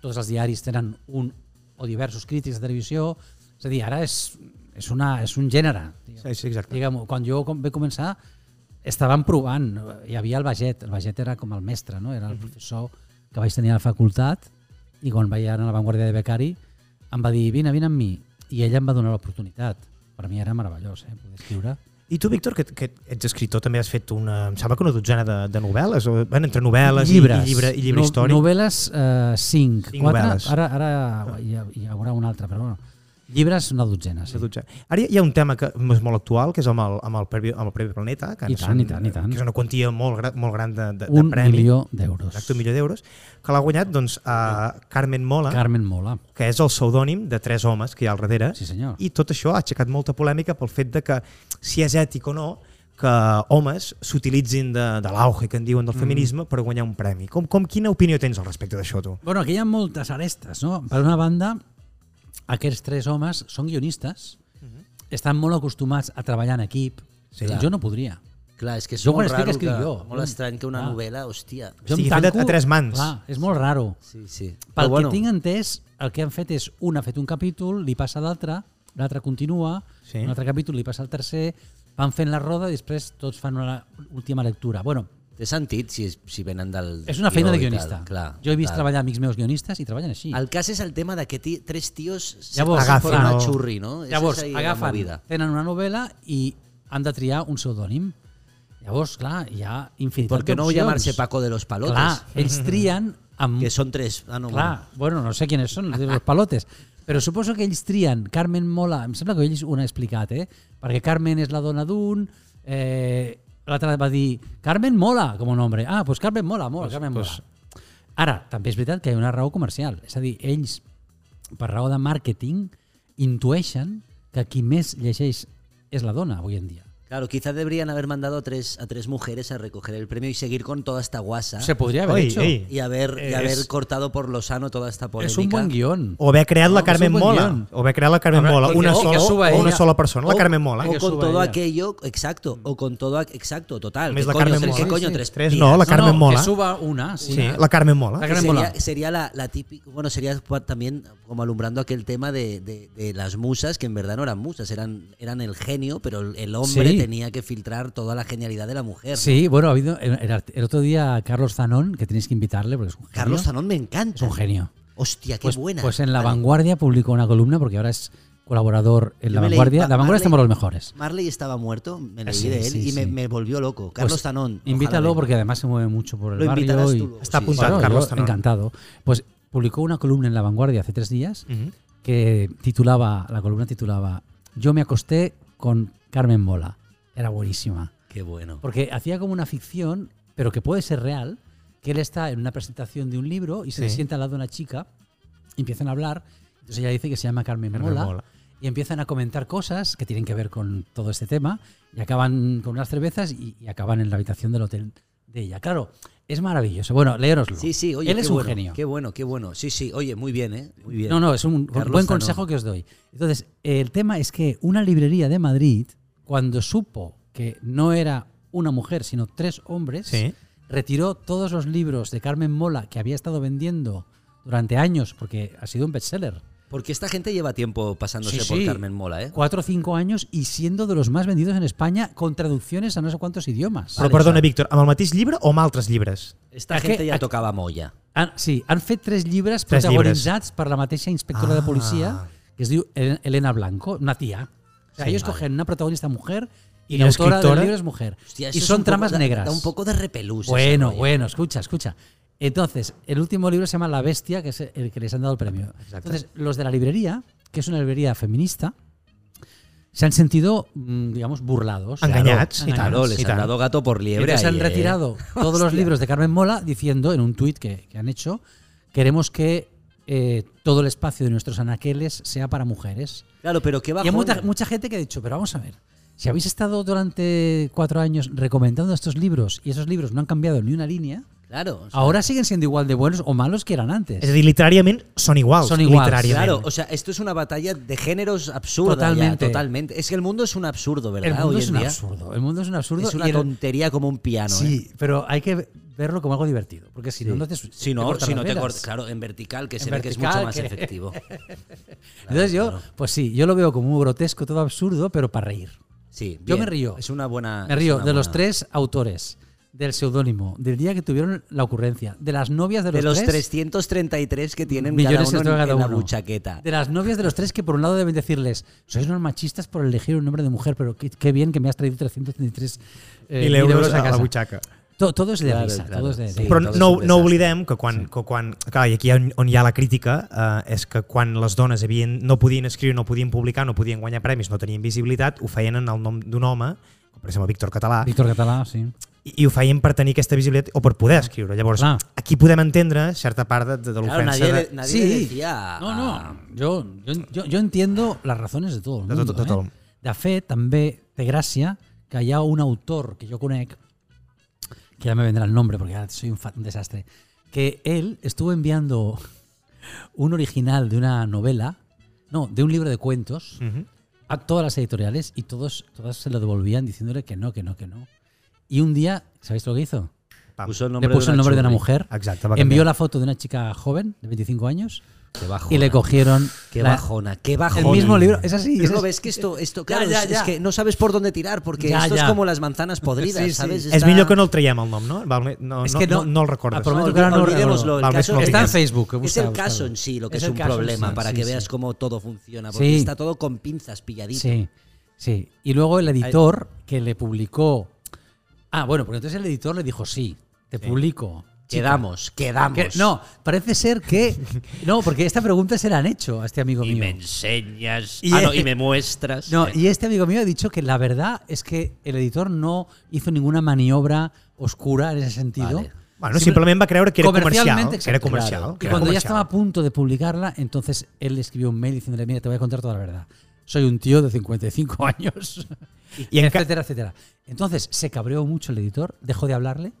[SPEAKER 1] Tots els diaris tenen un o diversos crítics de televisió. És a dir, ara és, és, una, és un gènere.
[SPEAKER 2] sí, sí, exacte.
[SPEAKER 1] Diguem, quan jo com vaig començar, estaven provant, hi havia el Baget, el Baget era com el mestre, no? era el professor que vaig tenir a la facultat i quan vaig anar a la Vanguardia de Becari em va dir, vine, vine amb mi, i ella em va donar l'oportunitat. Per mi era meravellós, eh? poder escriure.
[SPEAKER 2] I tu, Víctor, que, que ets escritor, també has fet una... Em sembla que una dotzena de, de novel·les, o, bueno, entre novel·les
[SPEAKER 1] llibres.
[SPEAKER 2] i, i llibre, i llibre no, històric.
[SPEAKER 1] Novel·les 5,
[SPEAKER 2] Cinc
[SPEAKER 1] 4,
[SPEAKER 2] novel·les.
[SPEAKER 1] ara, ara hi, ha- hi haurà una altra, però bueno. Llibres una dotzena, sí.
[SPEAKER 2] Una dotzena. Ara hi ha un tema que és molt actual, que és amb el, amb el, Premi, amb el Premi Planeta, que,
[SPEAKER 1] I
[SPEAKER 2] ens
[SPEAKER 1] tant,
[SPEAKER 2] han-
[SPEAKER 1] i tant, i tant.
[SPEAKER 2] que és una quantia molt, gra, molt gran de, de,
[SPEAKER 1] Un
[SPEAKER 2] de premi.
[SPEAKER 1] milió d'euros.
[SPEAKER 2] Exacte, un milió d'euros, que l'ha guanyat doncs, a Carmen Mola, Car
[SPEAKER 1] Carmen Mola.
[SPEAKER 2] que és el pseudònim de tres homes que hi ha al darrere,
[SPEAKER 1] Sí, senyor.
[SPEAKER 2] i tot això ha aixecat molta polèmica pel fet de que si és ètic o no que homes s'utilitzin de, de l'auge que en diuen
[SPEAKER 1] Mm.
[SPEAKER 2] del feminisme per guanyar un premi. Com, com quina opinió tens al respecte d'això, tu?
[SPEAKER 1] Bueno, aquí hi ha moltes arestes, no? Per una banda, aquests tres homes són guionistes, estan molt acostumats a treballar en equip.
[SPEAKER 2] Sí.
[SPEAKER 1] jo no podria.
[SPEAKER 3] Clar, és que és
[SPEAKER 1] Jo
[SPEAKER 3] molt
[SPEAKER 1] quan escric,
[SPEAKER 3] raro
[SPEAKER 1] escric
[SPEAKER 3] que-
[SPEAKER 1] jo.
[SPEAKER 3] Molt estrany que una
[SPEAKER 1] Ah.
[SPEAKER 3] novel·la, hòstia.
[SPEAKER 1] Jo em
[SPEAKER 2] Estigui fet a-
[SPEAKER 1] tanco-
[SPEAKER 2] a tres mans.
[SPEAKER 1] Clar, és molt raro.
[SPEAKER 3] Sí, sí.
[SPEAKER 1] Pel
[SPEAKER 3] Però
[SPEAKER 1] bueno. que tinc entès, el que han fet és un ha fet un capítol, li passa a l'altre, l'altre continua, sí.
[SPEAKER 2] Sí.
[SPEAKER 1] un altre capítol li passa al tercer, van fent la roda i després tots fan una última lectura. Bueno,
[SPEAKER 3] Té sentit si, és- si venen del...
[SPEAKER 1] és una feina
[SPEAKER 3] guió
[SPEAKER 1] de
[SPEAKER 3] i tal,
[SPEAKER 1] guionista.
[SPEAKER 3] clar,
[SPEAKER 1] jo he vist
[SPEAKER 3] clar.
[SPEAKER 1] treballar amics meus guionistes i treballen així.
[SPEAKER 3] El cas és el tema de que ti, tres tios
[SPEAKER 1] Llavors,
[SPEAKER 3] agafen
[SPEAKER 1] agafen
[SPEAKER 2] el-
[SPEAKER 3] una xurri, no? Esa
[SPEAKER 1] Llavors,
[SPEAKER 3] és ahí la
[SPEAKER 1] agafen,
[SPEAKER 3] movida.
[SPEAKER 1] tenen una novel·la i han de triar un pseudònim. Llavors, clar, hi ha infinitat
[SPEAKER 3] Porque no
[SPEAKER 1] d'opcions.
[SPEAKER 3] llamarse Paco de los Palotes,
[SPEAKER 1] Clar, ells trien amb...
[SPEAKER 3] que son tres. Ah, no,
[SPEAKER 1] clar, bueno, no sé quiénes són, els palotes. Però suposo que ells trien Carmen Mola, em sembla que ells ho han explicat, eh? Perquè Carmen és la dona d'un, eh, l'altre va dir Carmen Mola com un nombre. Ah, doncs Carmen Mola, Mola, Carmen Mola. Ara, també és veritat que hi ha una raó comercial. És a dir, ells, per raó de màrqueting, intueixen que qui més llegeix és la dona avui en dia.
[SPEAKER 3] bueno. Claro, quizás deberían haber mandado a tres, a tres mujeres a recoger el premio y seguir con toda esta guasa
[SPEAKER 1] Se podria haver
[SPEAKER 2] Oi,
[SPEAKER 1] hecho.
[SPEAKER 2] ei.
[SPEAKER 3] y haber, y
[SPEAKER 2] Es-
[SPEAKER 3] haver cortado por lo sano toda esta polémica.
[SPEAKER 1] És un bon guión.
[SPEAKER 2] O haver creat la
[SPEAKER 1] No,
[SPEAKER 2] Carmen
[SPEAKER 1] és un bon
[SPEAKER 2] Mola.
[SPEAKER 1] guion.
[SPEAKER 2] O haver creat la Carmen
[SPEAKER 1] Habrá-
[SPEAKER 2] Mola.
[SPEAKER 1] que-
[SPEAKER 2] Una
[SPEAKER 1] o que
[SPEAKER 2] sola,
[SPEAKER 1] suba
[SPEAKER 2] o una
[SPEAKER 1] ella.
[SPEAKER 2] sola persona, la
[SPEAKER 3] O-
[SPEAKER 2] Carmen Mola.
[SPEAKER 1] Hay que
[SPEAKER 3] O con
[SPEAKER 1] suba
[SPEAKER 3] todo
[SPEAKER 1] ella.
[SPEAKER 3] aquello, exacto, o con todo, a- exacto, total.
[SPEAKER 2] Més
[SPEAKER 3] ¿Qué
[SPEAKER 2] la
[SPEAKER 3] coño,
[SPEAKER 2] Carmen
[SPEAKER 3] tres-
[SPEAKER 2] Mola.
[SPEAKER 3] ¿Qué coño?
[SPEAKER 1] Sí, sí.
[SPEAKER 3] Tres,
[SPEAKER 2] Tres
[SPEAKER 3] tías?
[SPEAKER 2] no, la Carmen
[SPEAKER 1] no,
[SPEAKER 2] Mola.
[SPEAKER 1] Que suba una, sí.
[SPEAKER 2] Sí, la Carmen Mola.
[SPEAKER 1] La Carmen
[SPEAKER 3] sería,
[SPEAKER 1] Mola.
[SPEAKER 3] sería la, la típica, bueno, sería pa- también como alumbrando aquel tema de, de- de las musas, que en verdad no eran musas, eran, eran el genio, pero el- el hombre
[SPEAKER 1] Sí.
[SPEAKER 3] tenía que filtrar toda la genialidad de la mujer.
[SPEAKER 1] Sí, bueno, ha habido el, el art- el otro día Carlos Zanón, que tenéis que invitarle porque es un genio.
[SPEAKER 3] Carlos Zanón me encanta.
[SPEAKER 1] es un genio.
[SPEAKER 3] Hostia, qué
[SPEAKER 1] Pues,
[SPEAKER 3] buena.
[SPEAKER 1] pues en La
[SPEAKER 3] Vale.
[SPEAKER 1] Vanguardia publicó una columna porque ahora es colaborador en
[SPEAKER 3] Yo
[SPEAKER 1] La
[SPEAKER 3] me leí
[SPEAKER 1] Vanguardia.
[SPEAKER 3] Ma-
[SPEAKER 1] La Vanguardia
[SPEAKER 3] Marley-
[SPEAKER 1] es como los mejores.
[SPEAKER 3] Marley estaba muerto, me leí
[SPEAKER 1] Sí,
[SPEAKER 3] de él
[SPEAKER 1] sí,
[SPEAKER 3] y me,
[SPEAKER 1] sí.
[SPEAKER 3] me volvió loco. Carlos
[SPEAKER 1] Pues,
[SPEAKER 3] Tanón.
[SPEAKER 1] Invítalo
[SPEAKER 3] ojalá
[SPEAKER 1] porque además se mueve mucho por el
[SPEAKER 3] Lo
[SPEAKER 1] barrio.
[SPEAKER 3] invitarás
[SPEAKER 1] y-
[SPEAKER 3] tú luego,
[SPEAKER 2] Está
[SPEAKER 3] sí,
[SPEAKER 2] apuntado,
[SPEAKER 1] Bueno,
[SPEAKER 2] Carlos
[SPEAKER 1] yo
[SPEAKER 2] Tanón.
[SPEAKER 1] Encantado. Pues publicó una columna en La Vanguardia hace tres días
[SPEAKER 2] Ujú.
[SPEAKER 1] que titulaba, la columna titulaba Yo me acosté con Carmen Mola. Era buenísima.
[SPEAKER 3] sí. Qué bueno.
[SPEAKER 1] Porque hacía como una ficción, pero que puede ser real, que él está en una presentación de un libro y se le
[SPEAKER 2] Sí.
[SPEAKER 1] sienta al lado una chica, y empiezan a hablar, entonces ella dice que se llama Carmen,
[SPEAKER 2] Carmen
[SPEAKER 1] Mola,
[SPEAKER 2] Mola.
[SPEAKER 1] y empiezan a comentar cosas que tienen que ver con todo este tema, y acaban con unas cervezas y, y acaban en la habitación del hotel de ella. Claro, es maravilloso. Bueno, léoroslo.
[SPEAKER 3] Sí, sí, oye,
[SPEAKER 1] Él
[SPEAKER 3] qué
[SPEAKER 1] es un
[SPEAKER 3] bueno,
[SPEAKER 1] genio.
[SPEAKER 3] Qué bueno, qué bueno. Sí, sí, oye, muy bien, ¿eh? Muy bien.
[SPEAKER 1] No, no, es un
[SPEAKER 3] Carlos
[SPEAKER 1] buen
[SPEAKER 3] Zanón.
[SPEAKER 1] consejo que os doy. Entonces, el tema es que una librería de Madrid, cuando supo que no era una mujer, sino tres hombres,
[SPEAKER 2] Sí.
[SPEAKER 1] retiró todos los libros de Carmen Mola que había estado vendiendo durante años, porque ha sido un bestseller.
[SPEAKER 3] Porque esta gente lleva tiempo pasándose
[SPEAKER 1] Sí,
[SPEAKER 3] por
[SPEAKER 1] sí.
[SPEAKER 3] Carmen Mola, ¿eh?
[SPEAKER 1] Cuatro o cinco años y siendo de los más vendidos en España con traducciones a no sé cuántos idiomas.
[SPEAKER 2] Però perdona, Víctor, amb el mateix llibre o amb altres llibres?
[SPEAKER 3] Esta
[SPEAKER 1] Es que-
[SPEAKER 3] gente ya
[SPEAKER 1] aquí-
[SPEAKER 3] tocaba molla.
[SPEAKER 1] Han, sí, han fet tres llibres
[SPEAKER 2] Tres
[SPEAKER 1] protagonitzats per la mateixa inspectora de
[SPEAKER 2] Ah.
[SPEAKER 1] policia, que es diu Hel- Elena Blanco, una tía. O sea,
[SPEAKER 3] Sí,
[SPEAKER 1] ellos
[SPEAKER 3] vale.
[SPEAKER 1] cogen una protagonista mujer y
[SPEAKER 2] ¿Y
[SPEAKER 1] la
[SPEAKER 2] la
[SPEAKER 1] autora del
[SPEAKER 2] escritora?
[SPEAKER 1] libro es mujer.
[SPEAKER 3] Hostia, eso
[SPEAKER 1] y
[SPEAKER 3] es
[SPEAKER 1] son
[SPEAKER 3] un poco-
[SPEAKER 1] tramas
[SPEAKER 3] da-
[SPEAKER 1] negras.
[SPEAKER 3] Da un poco de repelús. ese
[SPEAKER 1] bueno,
[SPEAKER 3] rollo.
[SPEAKER 1] bueno, escucha, escucha. Entonces, el último libro se llama La Bestia, que es el que les han dado el premio.
[SPEAKER 2] Exacte.
[SPEAKER 1] Entonces, los de la librería, que es una librería feminista, se han sentido, mm, digamos, burlados.
[SPEAKER 2] Engañats, i tant.
[SPEAKER 1] Engañados.
[SPEAKER 3] Claro, les
[SPEAKER 2] y
[SPEAKER 3] han
[SPEAKER 2] tal.
[SPEAKER 3] dado gato por liebre.
[SPEAKER 1] Entonces han
[SPEAKER 3] ahí, ¿eh?
[SPEAKER 1] retirado todos los libros de Carmen Mola diciendo en un tuit que, que han hecho, queremos que eh, todo el espacio de nuestros anaqueles sea para mujeres.
[SPEAKER 3] Claro, pero qué
[SPEAKER 1] Y hay
[SPEAKER 3] bajón.
[SPEAKER 1] mucha, mucha gente que ha dicho, pero vamos a ver, si habéis estado durante cuatro años recomendando estos libros y esos libros no han cambiado ni una línea,
[SPEAKER 3] Pues Claro. o sea,
[SPEAKER 1] ahora siguen siendo igual de buenos o malos que eran
[SPEAKER 2] És a
[SPEAKER 1] antes.
[SPEAKER 2] dir, literàriament són iguals.
[SPEAKER 1] Són iguals,
[SPEAKER 2] literàriament.
[SPEAKER 3] Claro, o sea, esto es una batalla de géneros absurda. ya,
[SPEAKER 1] Totalmente.
[SPEAKER 3] totalmente. Es que el mundo es un absurdo, ¿verdad?
[SPEAKER 1] El mundo
[SPEAKER 3] Hoy
[SPEAKER 1] es
[SPEAKER 3] en
[SPEAKER 1] un
[SPEAKER 3] día.
[SPEAKER 1] absurdo. El mundo es un absurdo.
[SPEAKER 3] Es una
[SPEAKER 1] y el-
[SPEAKER 3] tontería como un piano. ¿eh?
[SPEAKER 1] sí, pero hay que verlo como algo divertido, porque si no, no te su-
[SPEAKER 3] Si
[SPEAKER 1] te
[SPEAKER 3] no,
[SPEAKER 1] cortan
[SPEAKER 3] si
[SPEAKER 1] las
[SPEAKER 3] no te
[SPEAKER 1] venas.
[SPEAKER 3] cortas. Claro, en vertical, que
[SPEAKER 1] En
[SPEAKER 3] se ve que es mucho
[SPEAKER 1] vertical,
[SPEAKER 3] más
[SPEAKER 1] que-
[SPEAKER 3] efectivo.
[SPEAKER 1] Entonces yo, pues sí, yo lo veo como muy grotesco, todo absurdo, pero para reír.
[SPEAKER 3] Sí,
[SPEAKER 1] Yo
[SPEAKER 3] bien.
[SPEAKER 1] me río.
[SPEAKER 3] Ah, Es una buena.
[SPEAKER 1] Me
[SPEAKER 3] es
[SPEAKER 1] río
[SPEAKER 3] una
[SPEAKER 1] de los
[SPEAKER 3] buena-
[SPEAKER 1] tres autores, del seudónimo, del día que tuvieron la ocurrencia, de las novias de los,
[SPEAKER 3] de los
[SPEAKER 1] tres,
[SPEAKER 3] 333 que tienen
[SPEAKER 1] Millones
[SPEAKER 3] cada
[SPEAKER 1] de
[SPEAKER 3] uno en,
[SPEAKER 1] cada
[SPEAKER 3] en la
[SPEAKER 1] uno.
[SPEAKER 3] buchaqueta.
[SPEAKER 1] de las novias de los tres que por un lado deben decirles, sois unos machistas por elegir un nombre de mujer, pero qué, qué bien que me has traído 333 eh,
[SPEAKER 2] Mil euros a la
[SPEAKER 1] casa".
[SPEAKER 2] butxaca.
[SPEAKER 1] To- Todo es de
[SPEAKER 3] Claro,
[SPEAKER 1] risa,
[SPEAKER 3] claro,
[SPEAKER 1] todo es de-
[SPEAKER 3] sí.
[SPEAKER 2] Però
[SPEAKER 3] tot és
[SPEAKER 2] no,
[SPEAKER 3] un
[SPEAKER 2] no
[SPEAKER 3] desastre.
[SPEAKER 2] oblidem que quan, que quan... Clar, i aquí on, on hi ha la crítica eh, és que quan les dones havien, no podien escriure, no podien publicar, no podien guanyar premis, no tenien visibilitat, ho feien en el nom d'un home, com per exemple Víctor Català,
[SPEAKER 1] Víctor Català, sí.
[SPEAKER 2] i, i ho feien per tenir aquesta visibilitat o per poder escriure. Llavors,
[SPEAKER 1] Clar.
[SPEAKER 2] aquí podem entendre certa part de, de
[SPEAKER 3] Claro,
[SPEAKER 2] l'ofensa
[SPEAKER 3] nadie,
[SPEAKER 2] de,
[SPEAKER 3] le- nadie
[SPEAKER 1] Sí.
[SPEAKER 3] le decía.
[SPEAKER 1] No, no, jo, jo, jo, jo entiendo les razones de tot el
[SPEAKER 2] De
[SPEAKER 1] mundo.
[SPEAKER 2] tot- de tot el-
[SPEAKER 1] eh? de fet, també té gràcia que hi ha un autor que jo conec, que ja me vendrà el nombre porque ahora soy un, fa- un desastre, que él estuvo enviando un original de una novela, no, de un libro de cuentos,
[SPEAKER 2] Mhm.
[SPEAKER 1] a todas las editoriales y todos, todas se lo devolvían diciéndole que no, que no, que no. Y un día, ¿sabéis lo que hizo?
[SPEAKER 2] Pam.
[SPEAKER 3] Puso el
[SPEAKER 1] Le
[SPEAKER 3] nombre,
[SPEAKER 1] puso
[SPEAKER 3] de, una
[SPEAKER 1] el nombre de una
[SPEAKER 3] churri.
[SPEAKER 1] mujer,
[SPEAKER 2] Exacto, va a
[SPEAKER 1] envió
[SPEAKER 2] cambiar.
[SPEAKER 1] la foto de una chica joven, de 25 años,
[SPEAKER 3] Qué bajona.
[SPEAKER 1] y le cogieron
[SPEAKER 3] Qué
[SPEAKER 1] la-
[SPEAKER 3] bajona, qué bajona.
[SPEAKER 1] el mismo libro. Es así.
[SPEAKER 3] Pero
[SPEAKER 1] es
[SPEAKER 3] no
[SPEAKER 1] así.
[SPEAKER 3] ves que esto, esto claro,
[SPEAKER 1] ya,
[SPEAKER 3] es-
[SPEAKER 1] ya.
[SPEAKER 3] es que no sabes por dónde tirar, porque
[SPEAKER 1] Ya,
[SPEAKER 3] esto
[SPEAKER 1] ya.
[SPEAKER 3] es como las manzanas podridas,
[SPEAKER 1] Sí, sí.
[SPEAKER 3] ¿sabes?
[SPEAKER 2] És
[SPEAKER 3] Está-
[SPEAKER 2] millor que no el traiem el nom, no? Val, no,
[SPEAKER 1] És
[SPEAKER 2] no,
[SPEAKER 1] que no-
[SPEAKER 2] no, no el recordes.
[SPEAKER 1] Ah, però- Prometo
[SPEAKER 3] No,
[SPEAKER 1] que ahora no
[SPEAKER 3] olvidémoslo,
[SPEAKER 1] recuerdo.
[SPEAKER 3] el
[SPEAKER 2] Vale,
[SPEAKER 3] caso
[SPEAKER 2] no
[SPEAKER 3] es-
[SPEAKER 2] digas.
[SPEAKER 1] Está en Facebook.
[SPEAKER 3] Es
[SPEAKER 1] busca,
[SPEAKER 3] el
[SPEAKER 1] busca.
[SPEAKER 3] caso en sí lo que
[SPEAKER 1] Es
[SPEAKER 3] es,
[SPEAKER 1] el
[SPEAKER 3] un
[SPEAKER 1] caso en
[SPEAKER 3] problema
[SPEAKER 1] sí,
[SPEAKER 3] para
[SPEAKER 1] sí,
[SPEAKER 3] que
[SPEAKER 1] sí.
[SPEAKER 3] veas cómo todo funciona, porque
[SPEAKER 1] Sí.
[SPEAKER 3] está todo con pinzas pilladito.
[SPEAKER 1] Sí, sí. Y luego el editor que le publicó. Ah, bueno, porque entonces el editor le dijo: Sí, te publico. chica".
[SPEAKER 3] Quedamos, quedamos.
[SPEAKER 1] Que- no, parece ser que. No, porque esta pregunta se la han hecho a este amigo
[SPEAKER 4] Y
[SPEAKER 1] mío.
[SPEAKER 4] me enseñas.
[SPEAKER 1] Y
[SPEAKER 4] ah,
[SPEAKER 1] es-
[SPEAKER 3] eh,
[SPEAKER 4] no, y me muestras.
[SPEAKER 1] No,
[SPEAKER 4] Eh,
[SPEAKER 1] y este amigo mío ha dicho que la verdad es que el editor no hizo ninguna maniobra oscura en ese sentido.
[SPEAKER 3] Vale.
[SPEAKER 2] Bueno, simplement va creure que era comercial.
[SPEAKER 1] Comercialmente,
[SPEAKER 2] Que era
[SPEAKER 1] exacto,
[SPEAKER 2] comercial.
[SPEAKER 1] claro. Y
[SPEAKER 2] que era
[SPEAKER 1] cuando ya
[SPEAKER 2] comercial.
[SPEAKER 1] estaba a punto de publicarla, entonces él le escribió un mail diciéndole, mira, te voy a contar toda la verdad. Soy un tío de 55 años,
[SPEAKER 2] Y en ca-
[SPEAKER 1] etcétera, etcétera. Entonces se cabreó mucho el editor, dejó de hablarle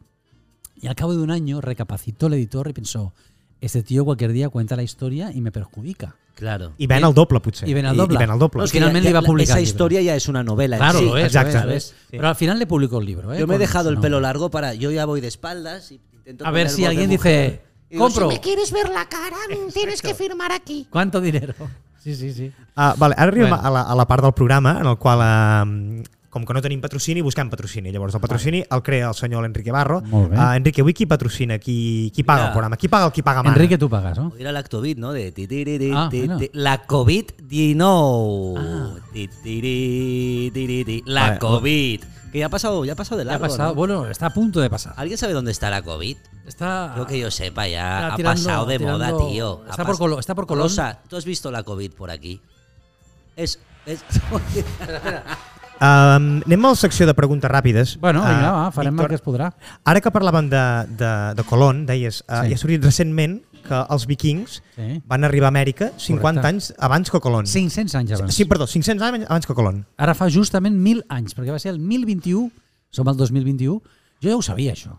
[SPEAKER 1] y al cabo de un año recapacitó el editor y pensó, este tío cualquier día cuenta la historia y me perjudica.
[SPEAKER 3] Claro.
[SPEAKER 2] I ven el doble, potser.
[SPEAKER 1] I ven el doble.
[SPEAKER 2] I, ven el doble.
[SPEAKER 1] No,
[SPEAKER 3] es que
[SPEAKER 1] finalmente
[SPEAKER 3] ya-
[SPEAKER 1] iba a
[SPEAKER 3] ya-
[SPEAKER 1] publicar
[SPEAKER 3] Esa
[SPEAKER 1] el libro. eh.
[SPEAKER 3] historia ya es una novela. en sí.
[SPEAKER 2] lo es,
[SPEAKER 1] exacto.
[SPEAKER 2] lo es.
[SPEAKER 1] Pero al final le publicó el libro. ¿eh?
[SPEAKER 3] Yo me he
[SPEAKER 1] Con-
[SPEAKER 3] dejado el
[SPEAKER 1] no.
[SPEAKER 3] pelo largo para. Yo ya voy de espaldas. Y intento
[SPEAKER 1] A ver
[SPEAKER 3] poner voz
[SPEAKER 1] si
[SPEAKER 3] de
[SPEAKER 1] alguien
[SPEAKER 3] mujer.
[SPEAKER 1] dice,
[SPEAKER 3] Y digo,
[SPEAKER 1] compro,
[SPEAKER 5] Si me quieres ver la cara, tienes que firmar aquí.
[SPEAKER 1] ¿cuánto dinero? Sí, sí, sí.
[SPEAKER 2] Ah, vale, ara arribem
[SPEAKER 1] Bueno.
[SPEAKER 2] a, la, a la part del programa en el qual, eh, com que no tenim patrocini, busquem patrocini. Llavors, el patrocini el crea el senyor Enrique Barro.
[SPEAKER 1] Molt bé.
[SPEAKER 2] Eh, Enrique Wiki patrocina qui, qui paga
[SPEAKER 3] Mira.
[SPEAKER 2] el programa. Qui paga el qui paga mana.
[SPEAKER 1] Enrique, tú pagas, ¿no?
[SPEAKER 3] O ir a la COVID, ¿no? De ti, ti, ti, ti,
[SPEAKER 1] Ah,
[SPEAKER 3] ti,
[SPEAKER 1] bueno.
[SPEAKER 3] ti. La COVID-19.
[SPEAKER 1] Ah.
[SPEAKER 3] Ti, ti, ti, ti, ti, ti. La
[SPEAKER 2] Vale.
[SPEAKER 3] COVID. Que ya ha pasado, ya ha pasado de
[SPEAKER 1] Ya ha
[SPEAKER 3] largo.
[SPEAKER 1] pasado,
[SPEAKER 3] ¿no?
[SPEAKER 1] bueno, está a punto de pasar.
[SPEAKER 3] ¿Alguien sabe dónde está la COVID?
[SPEAKER 1] Está
[SPEAKER 3] Creo que yo sepa,
[SPEAKER 1] Ah. Está
[SPEAKER 3] ya ha
[SPEAKER 1] tirando-
[SPEAKER 3] pasado de
[SPEAKER 1] tirando-
[SPEAKER 3] moda, tío. Ha
[SPEAKER 1] está por
[SPEAKER 3] pas-
[SPEAKER 1] Colo- está por Colón.
[SPEAKER 3] Rosa, ¿tú has visto la COVID por aquí? Es. es
[SPEAKER 2] Um, anem a la secció de preguntes ràpides.
[SPEAKER 1] Bueno, vinga,
[SPEAKER 2] Eh,
[SPEAKER 1] va, farem el
[SPEAKER 2] Víctor,
[SPEAKER 1] que es podrà.
[SPEAKER 2] Ara que parlàvem de, de, de Colón, deies,
[SPEAKER 1] Sí.
[SPEAKER 2] uh, sí. ja ha sortit recentment que els vikings
[SPEAKER 1] Sí.
[SPEAKER 2] van arribar a Amèrica 50
[SPEAKER 1] Correcte.
[SPEAKER 2] anys abans que Colón.
[SPEAKER 1] 500 anys abans.
[SPEAKER 2] Sí, perdó, 500 anys abans que Colón.
[SPEAKER 1] Ara fa justament 1.000 anys, perquè va ser el 1021, som al 2021, jo ja ho sabia, això.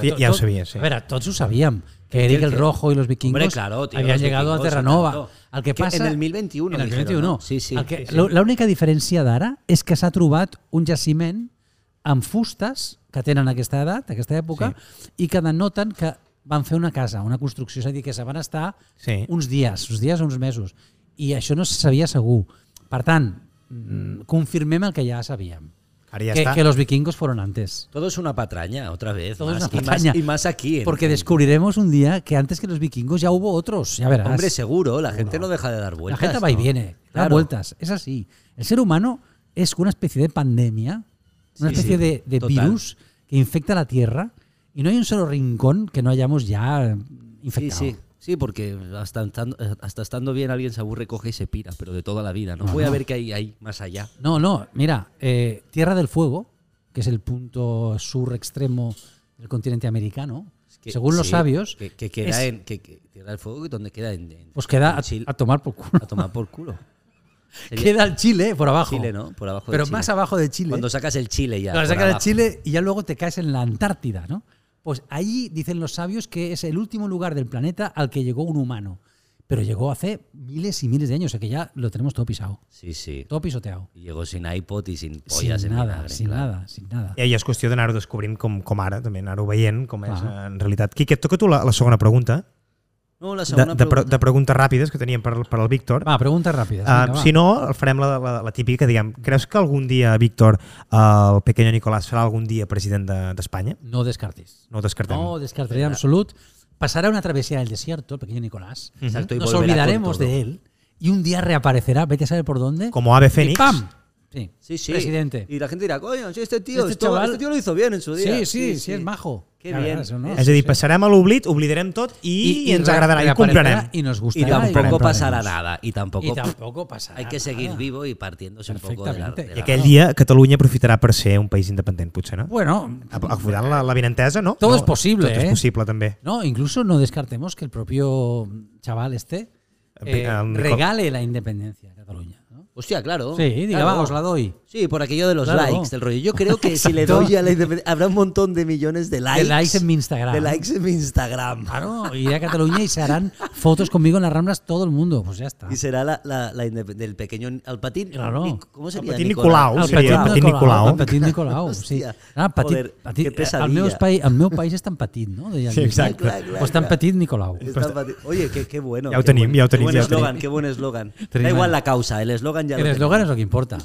[SPEAKER 2] Ja- ja ho sabia, sí.
[SPEAKER 1] Ah, A veure, tots ho sabíem, que Eric el Rojo i los vikingos
[SPEAKER 3] Hombre, claro, tío,
[SPEAKER 1] havien
[SPEAKER 3] los
[SPEAKER 1] llegat a
[SPEAKER 3] vikingos,
[SPEAKER 1] Terranova.
[SPEAKER 3] tanto.
[SPEAKER 1] El que
[SPEAKER 3] Que
[SPEAKER 1] passa...
[SPEAKER 3] en el 1021
[SPEAKER 1] En el
[SPEAKER 3] dijeron,
[SPEAKER 1] 1021.
[SPEAKER 3] no? Sí, sí.
[SPEAKER 1] El que,
[SPEAKER 3] Sí, sí.
[SPEAKER 1] lo- L'única diferència d'ara és que s'ha trobat un jaciment amb fustes que tenen aquesta edat, aquesta època, i que denoten que van fer una casa, una construcció, és a dir, que se van estar
[SPEAKER 2] Sí.
[SPEAKER 1] uns dies, uns dies o uns mesos. I això no se sabia segur. Per tant, mm, confirmem el que ja sabíem.
[SPEAKER 2] Ara ja
[SPEAKER 1] que,
[SPEAKER 2] està.
[SPEAKER 1] que los vikingos fueron antes.
[SPEAKER 3] todo es una patraña, otra vez.
[SPEAKER 1] Todo
[SPEAKER 3] más,
[SPEAKER 1] es una
[SPEAKER 3] y más-
[SPEAKER 1] patraña.
[SPEAKER 3] Y, más, aquí. en-
[SPEAKER 1] Porque descubriremos un día que antes que los vikingos ya hubo otros, ya verás.
[SPEAKER 3] Hombre, seguro, la gente no deja de dar vueltas.
[SPEAKER 1] la gente va y
[SPEAKER 3] ¿no?
[SPEAKER 1] viene, da
[SPEAKER 3] Claro.
[SPEAKER 1] vueltas, es así. El ser humano es una especie de pandemia, una
[SPEAKER 3] Sí,
[SPEAKER 1] especie
[SPEAKER 3] sí,
[SPEAKER 1] de, de
[SPEAKER 3] total.
[SPEAKER 1] virus que infecta la Tierra y no hay un solo rincón que no hayamos ya
[SPEAKER 3] Sí,
[SPEAKER 1] infectado.
[SPEAKER 3] sí. Sí, porque hasta estando, hasta estando bien alguien se aburre, coge y se pira, pero de toda la vida,
[SPEAKER 1] Ah,
[SPEAKER 3] ¿no? Voy a ver qué hay ahí, más allá.
[SPEAKER 1] No, no, mira, eh, Tierra del Fuego, que es el punto sur extremo del continente americano,
[SPEAKER 3] Que-
[SPEAKER 1] según los
[SPEAKER 3] sí,
[SPEAKER 1] sabios,
[SPEAKER 3] Que, que queda
[SPEAKER 1] es-
[SPEAKER 3] en. Que, que- Tierra del Fuego, ¿dónde queda? En, en-
[SPEAKER 1] pues queda
[SPEAKER 3] en
[SPEAKER 1] a,
[SPEAKER 3] Chile.
[SPEAKER 1] a tomar por culo.
[SPEAKER 3] A tomar por culo. Sería
[SPEAKER 1] Queda el Chile por abajo.
[SPEAKER 3] Chile, ¿no? Por abajo de
[SPEAKER 1] Pero
[SPEAKER 3] Chile.
[SPEAKER 1] más abajo de Chile.
[SPEAKER 3] Cuando sacas el Chile ya.
[SPEAKER 1] Lo
[SPEAKER 3] por
[SPEAKER 1] sacas de
[SPEAKER 3] abajo.
[SPEAKER 1] Chile y ya luego te caes en la Antártida, ¿no? Pues ahí dicen los sabios que es el último lugar del planeta al que llegó un humano. Pero llegó hace miles y miles de años, o sea que ya lo tenemos todo pisado,
[SPEAKER 3] Sí, sí.
[SPEAKER 1] todo pisoteado.
[SPEAKER 3] Y llegó sin iPod y sin pollas
[SPEAKER 1] sin
[SPEAKER 3] en
[SPEAKER 1] nada,
[SPEAKER 3] vinagre,
[SPEAKER 1] sin
[SPEAKER 3] claro. Eh,
[SPEAKER 1] nada, sin nada.
[SPEAKER 2] Eh, I és qüestió d'anar-ho descobrint com, com ara, també anar-ho veient, com és eh,
[SPEAKER 1] Clar.
[SPEAKER 2] en realitat. Quique, et toca tu la, la segona pregunta.
[SPEAKER 3] No, la
[SPEAKER 2] de,
[SPEAKER 3] segona
[SPEAKER 2] de, pre-
[SPEAKER 3] pregunta.
[SPEAKER 2] de preguntes ràpides que teníem per, per al Víctor.
[SPEAKER 1] Va, preguntes ràpides.
[SPEAKER 2] Uh,
[SPEAKER 3] ah,
[SPEAKER 1] vinga, va.
[SPEAKER 2] si no, farem la, la, la típica, diguem, creus que algun dia, Víctor, el pequeño Nicolás serà algun dia president de- d'Espanya? De,
[SPEAKER 1] No descartes.
[SPEAKER 2] no ho descartem.
[SPEAKER 1] No descartaría en absoluto. Pasará una travesía del desierto, el pequeño Nicolás.
[SPEAKER 3] Exacto, y
[SPEAKER 1] Nos
[SPEAKER 3] volverá con
[SPEAKER 1] olvidaremos
[SPEAKER 3] todo.
[SPEAKER 1] de él y un día reaparecerá, vete a saber por dónde.
[SPEAKER 2] Como ave
[SPEAKER 1] y
[SPEAKER 2] fénix.
[SPEAKER 1] ¡Pam! Sí,
[SPEAKER 3] Sí, sí.
[SPEAKER 1] Presidente.
[SPEAKER 3] Y la gente dirà, coño, sí, este tío,
[SPEAKER 1] Este
[SPEAKER 3] esto-
[SPEAKER 1] chaval-
[SPEAKER 3] este tío lo hizo bien en su
[SPEAKER 1] Sí,
[SPEAKER 3] día.
[SPEAKER 1] sí, sí, es majo.
[SPEAKER 3] Qué
[SPEAKER 1] La verdad,
[SPEAKER 3] bien.
[SPEAKER 1] eso no.
[SPEAKER 2] És a dir, passarem a l'oblit, oblidarem tot i, I, i ens
[SPEAKER 1] re-
[SPEAKER 2] agradarà i
[SPEAKER 1] reaparecerá
[SPEAKER 2] comprarem.
[SPEAKER 1] Y nos
[SPEAKER 3] Y
[SPEAKER 1] gustará.
[SPEAKER 3] tampoco
[SPEAKER 2] compraremos.
[SPEAKER 3] pasará nada. Y tampoco,
[SPEAKER 1] y tampoco pasará
[SPEAKER 3] hay que seguir
[SPEAKER 1] nada.
[SPEAKER 3] vivo y partiéndose un poco de la,
[SPEAKER 1] Perfectamente.
[SPEAKER 3] de
[SPEAKER 2] I
[SPEAKER 3] la-
[SPEAKER 2] aquell dia Catalunya aprofitarà per ser un país independent, potser, no?
[SPEAKER 1] Bueno,
[SPEAKER 2] Aprofitant la, la benentesa, no?
[SPEAKER 1] Todo
[SPEAKER 2] no,
[SPEAKER 1] es posible,
[SPEAKER 2] Tot
[SPEAKER 1] eh?
[SPEAKER 2] és possible, també.
[SPEAKER 1] no, incluso no descartemos que el propio chaval este eh,
[SPEAKER 2] Eh, Nicol-
[SPEAKER 1] regale la independencia a Cataluña. ¿no?
[SPEAKER 3] Hostia, claro.
[SPEAKER 1] Sí, diga,
[SPEAKER 3] Oh, claro.
[SPEAKER 1] va, os la doy.
[SPEAKER 3] Sí, por aquello de los
[SPEAKER 1] Claro.
[SPEAKER 3] likes, del rollo. Yo creo que si le
[SPEAKER 1] Exacto.
[SPEAKER 3] doy a la independencia, habrá un montón de millones de likes.
[SPEAKER 1] De likes en mi Instagram. Ah.
[SPEAKER 3] De likes en mi Instagram.
[SPEAKER 1] Claro, iré a Cataluña y se harán fotos conmigo en las Ramblas todo el mundo. Pues ya está.
[SPEAKER 3] Y será la, la, la independ- del pequeño al patín.
[SPEAKER 1] Claro.
[SPEAKER 3] Nic- ¿Cómo sería?
[SPEAKER 2] patín
[SPEAKER 3] Nicolau.
[SPEAKER 2] Nicolau,
[SPEAKER 1] El
[SPEAKER 2] seria
[SPEAKER 1] petit
[SPEAKER 2] el petit Nicolau.
[SPEAKER 1] El petit Nicolau, sí.
[SPEAKER 3] Hòstia,
[SPEAKER 1] Ah, petit,
[SPEAKER 3] joder,
[SPEAKER 1] petit,
[SPEAKER 3] que pesadilla.
[SPEAKER 1] el, meu espai, el meu país és tan petit, no? Deia el
[SPEAKER 2] Sí,
[SPEAKER 1] Lluís.
[SPEAKER 2] exacte.
[SPEAKER 3] Clar, clar,
[SPEAKER 1] Pues tan
[SPEAKER 3] clar.
[SPEAKER 1] petit Nicolau.
[SPEAKER 3] Está el patín. Oye, qué, qué bueno.
[SPEAKER 2] Ya lo
[SPEAKER 3] qué
[SPEAKER 2] tenim,
[SPEAKER 3] buen-
[SPEAKER 2] ya lo tenim,
[SPEAKER 3] Qué buen
[SPEAKER 2] ya lo
[SPEAKER 3] eslogan,
[SPEAKER 2] tenim.
[SPEAKER 3] qué buen eslogan. Da
[SPEAKER 1] Tenim.
[SPEAKER 3] igual la causa, el eslogan ya
[SPEAKER 1] El
[SPEAKER 3] lo
[SPEAKER 1] eslogan és
[SPEAKER 3] tenemos.
[SPEAKER 1] el que importa.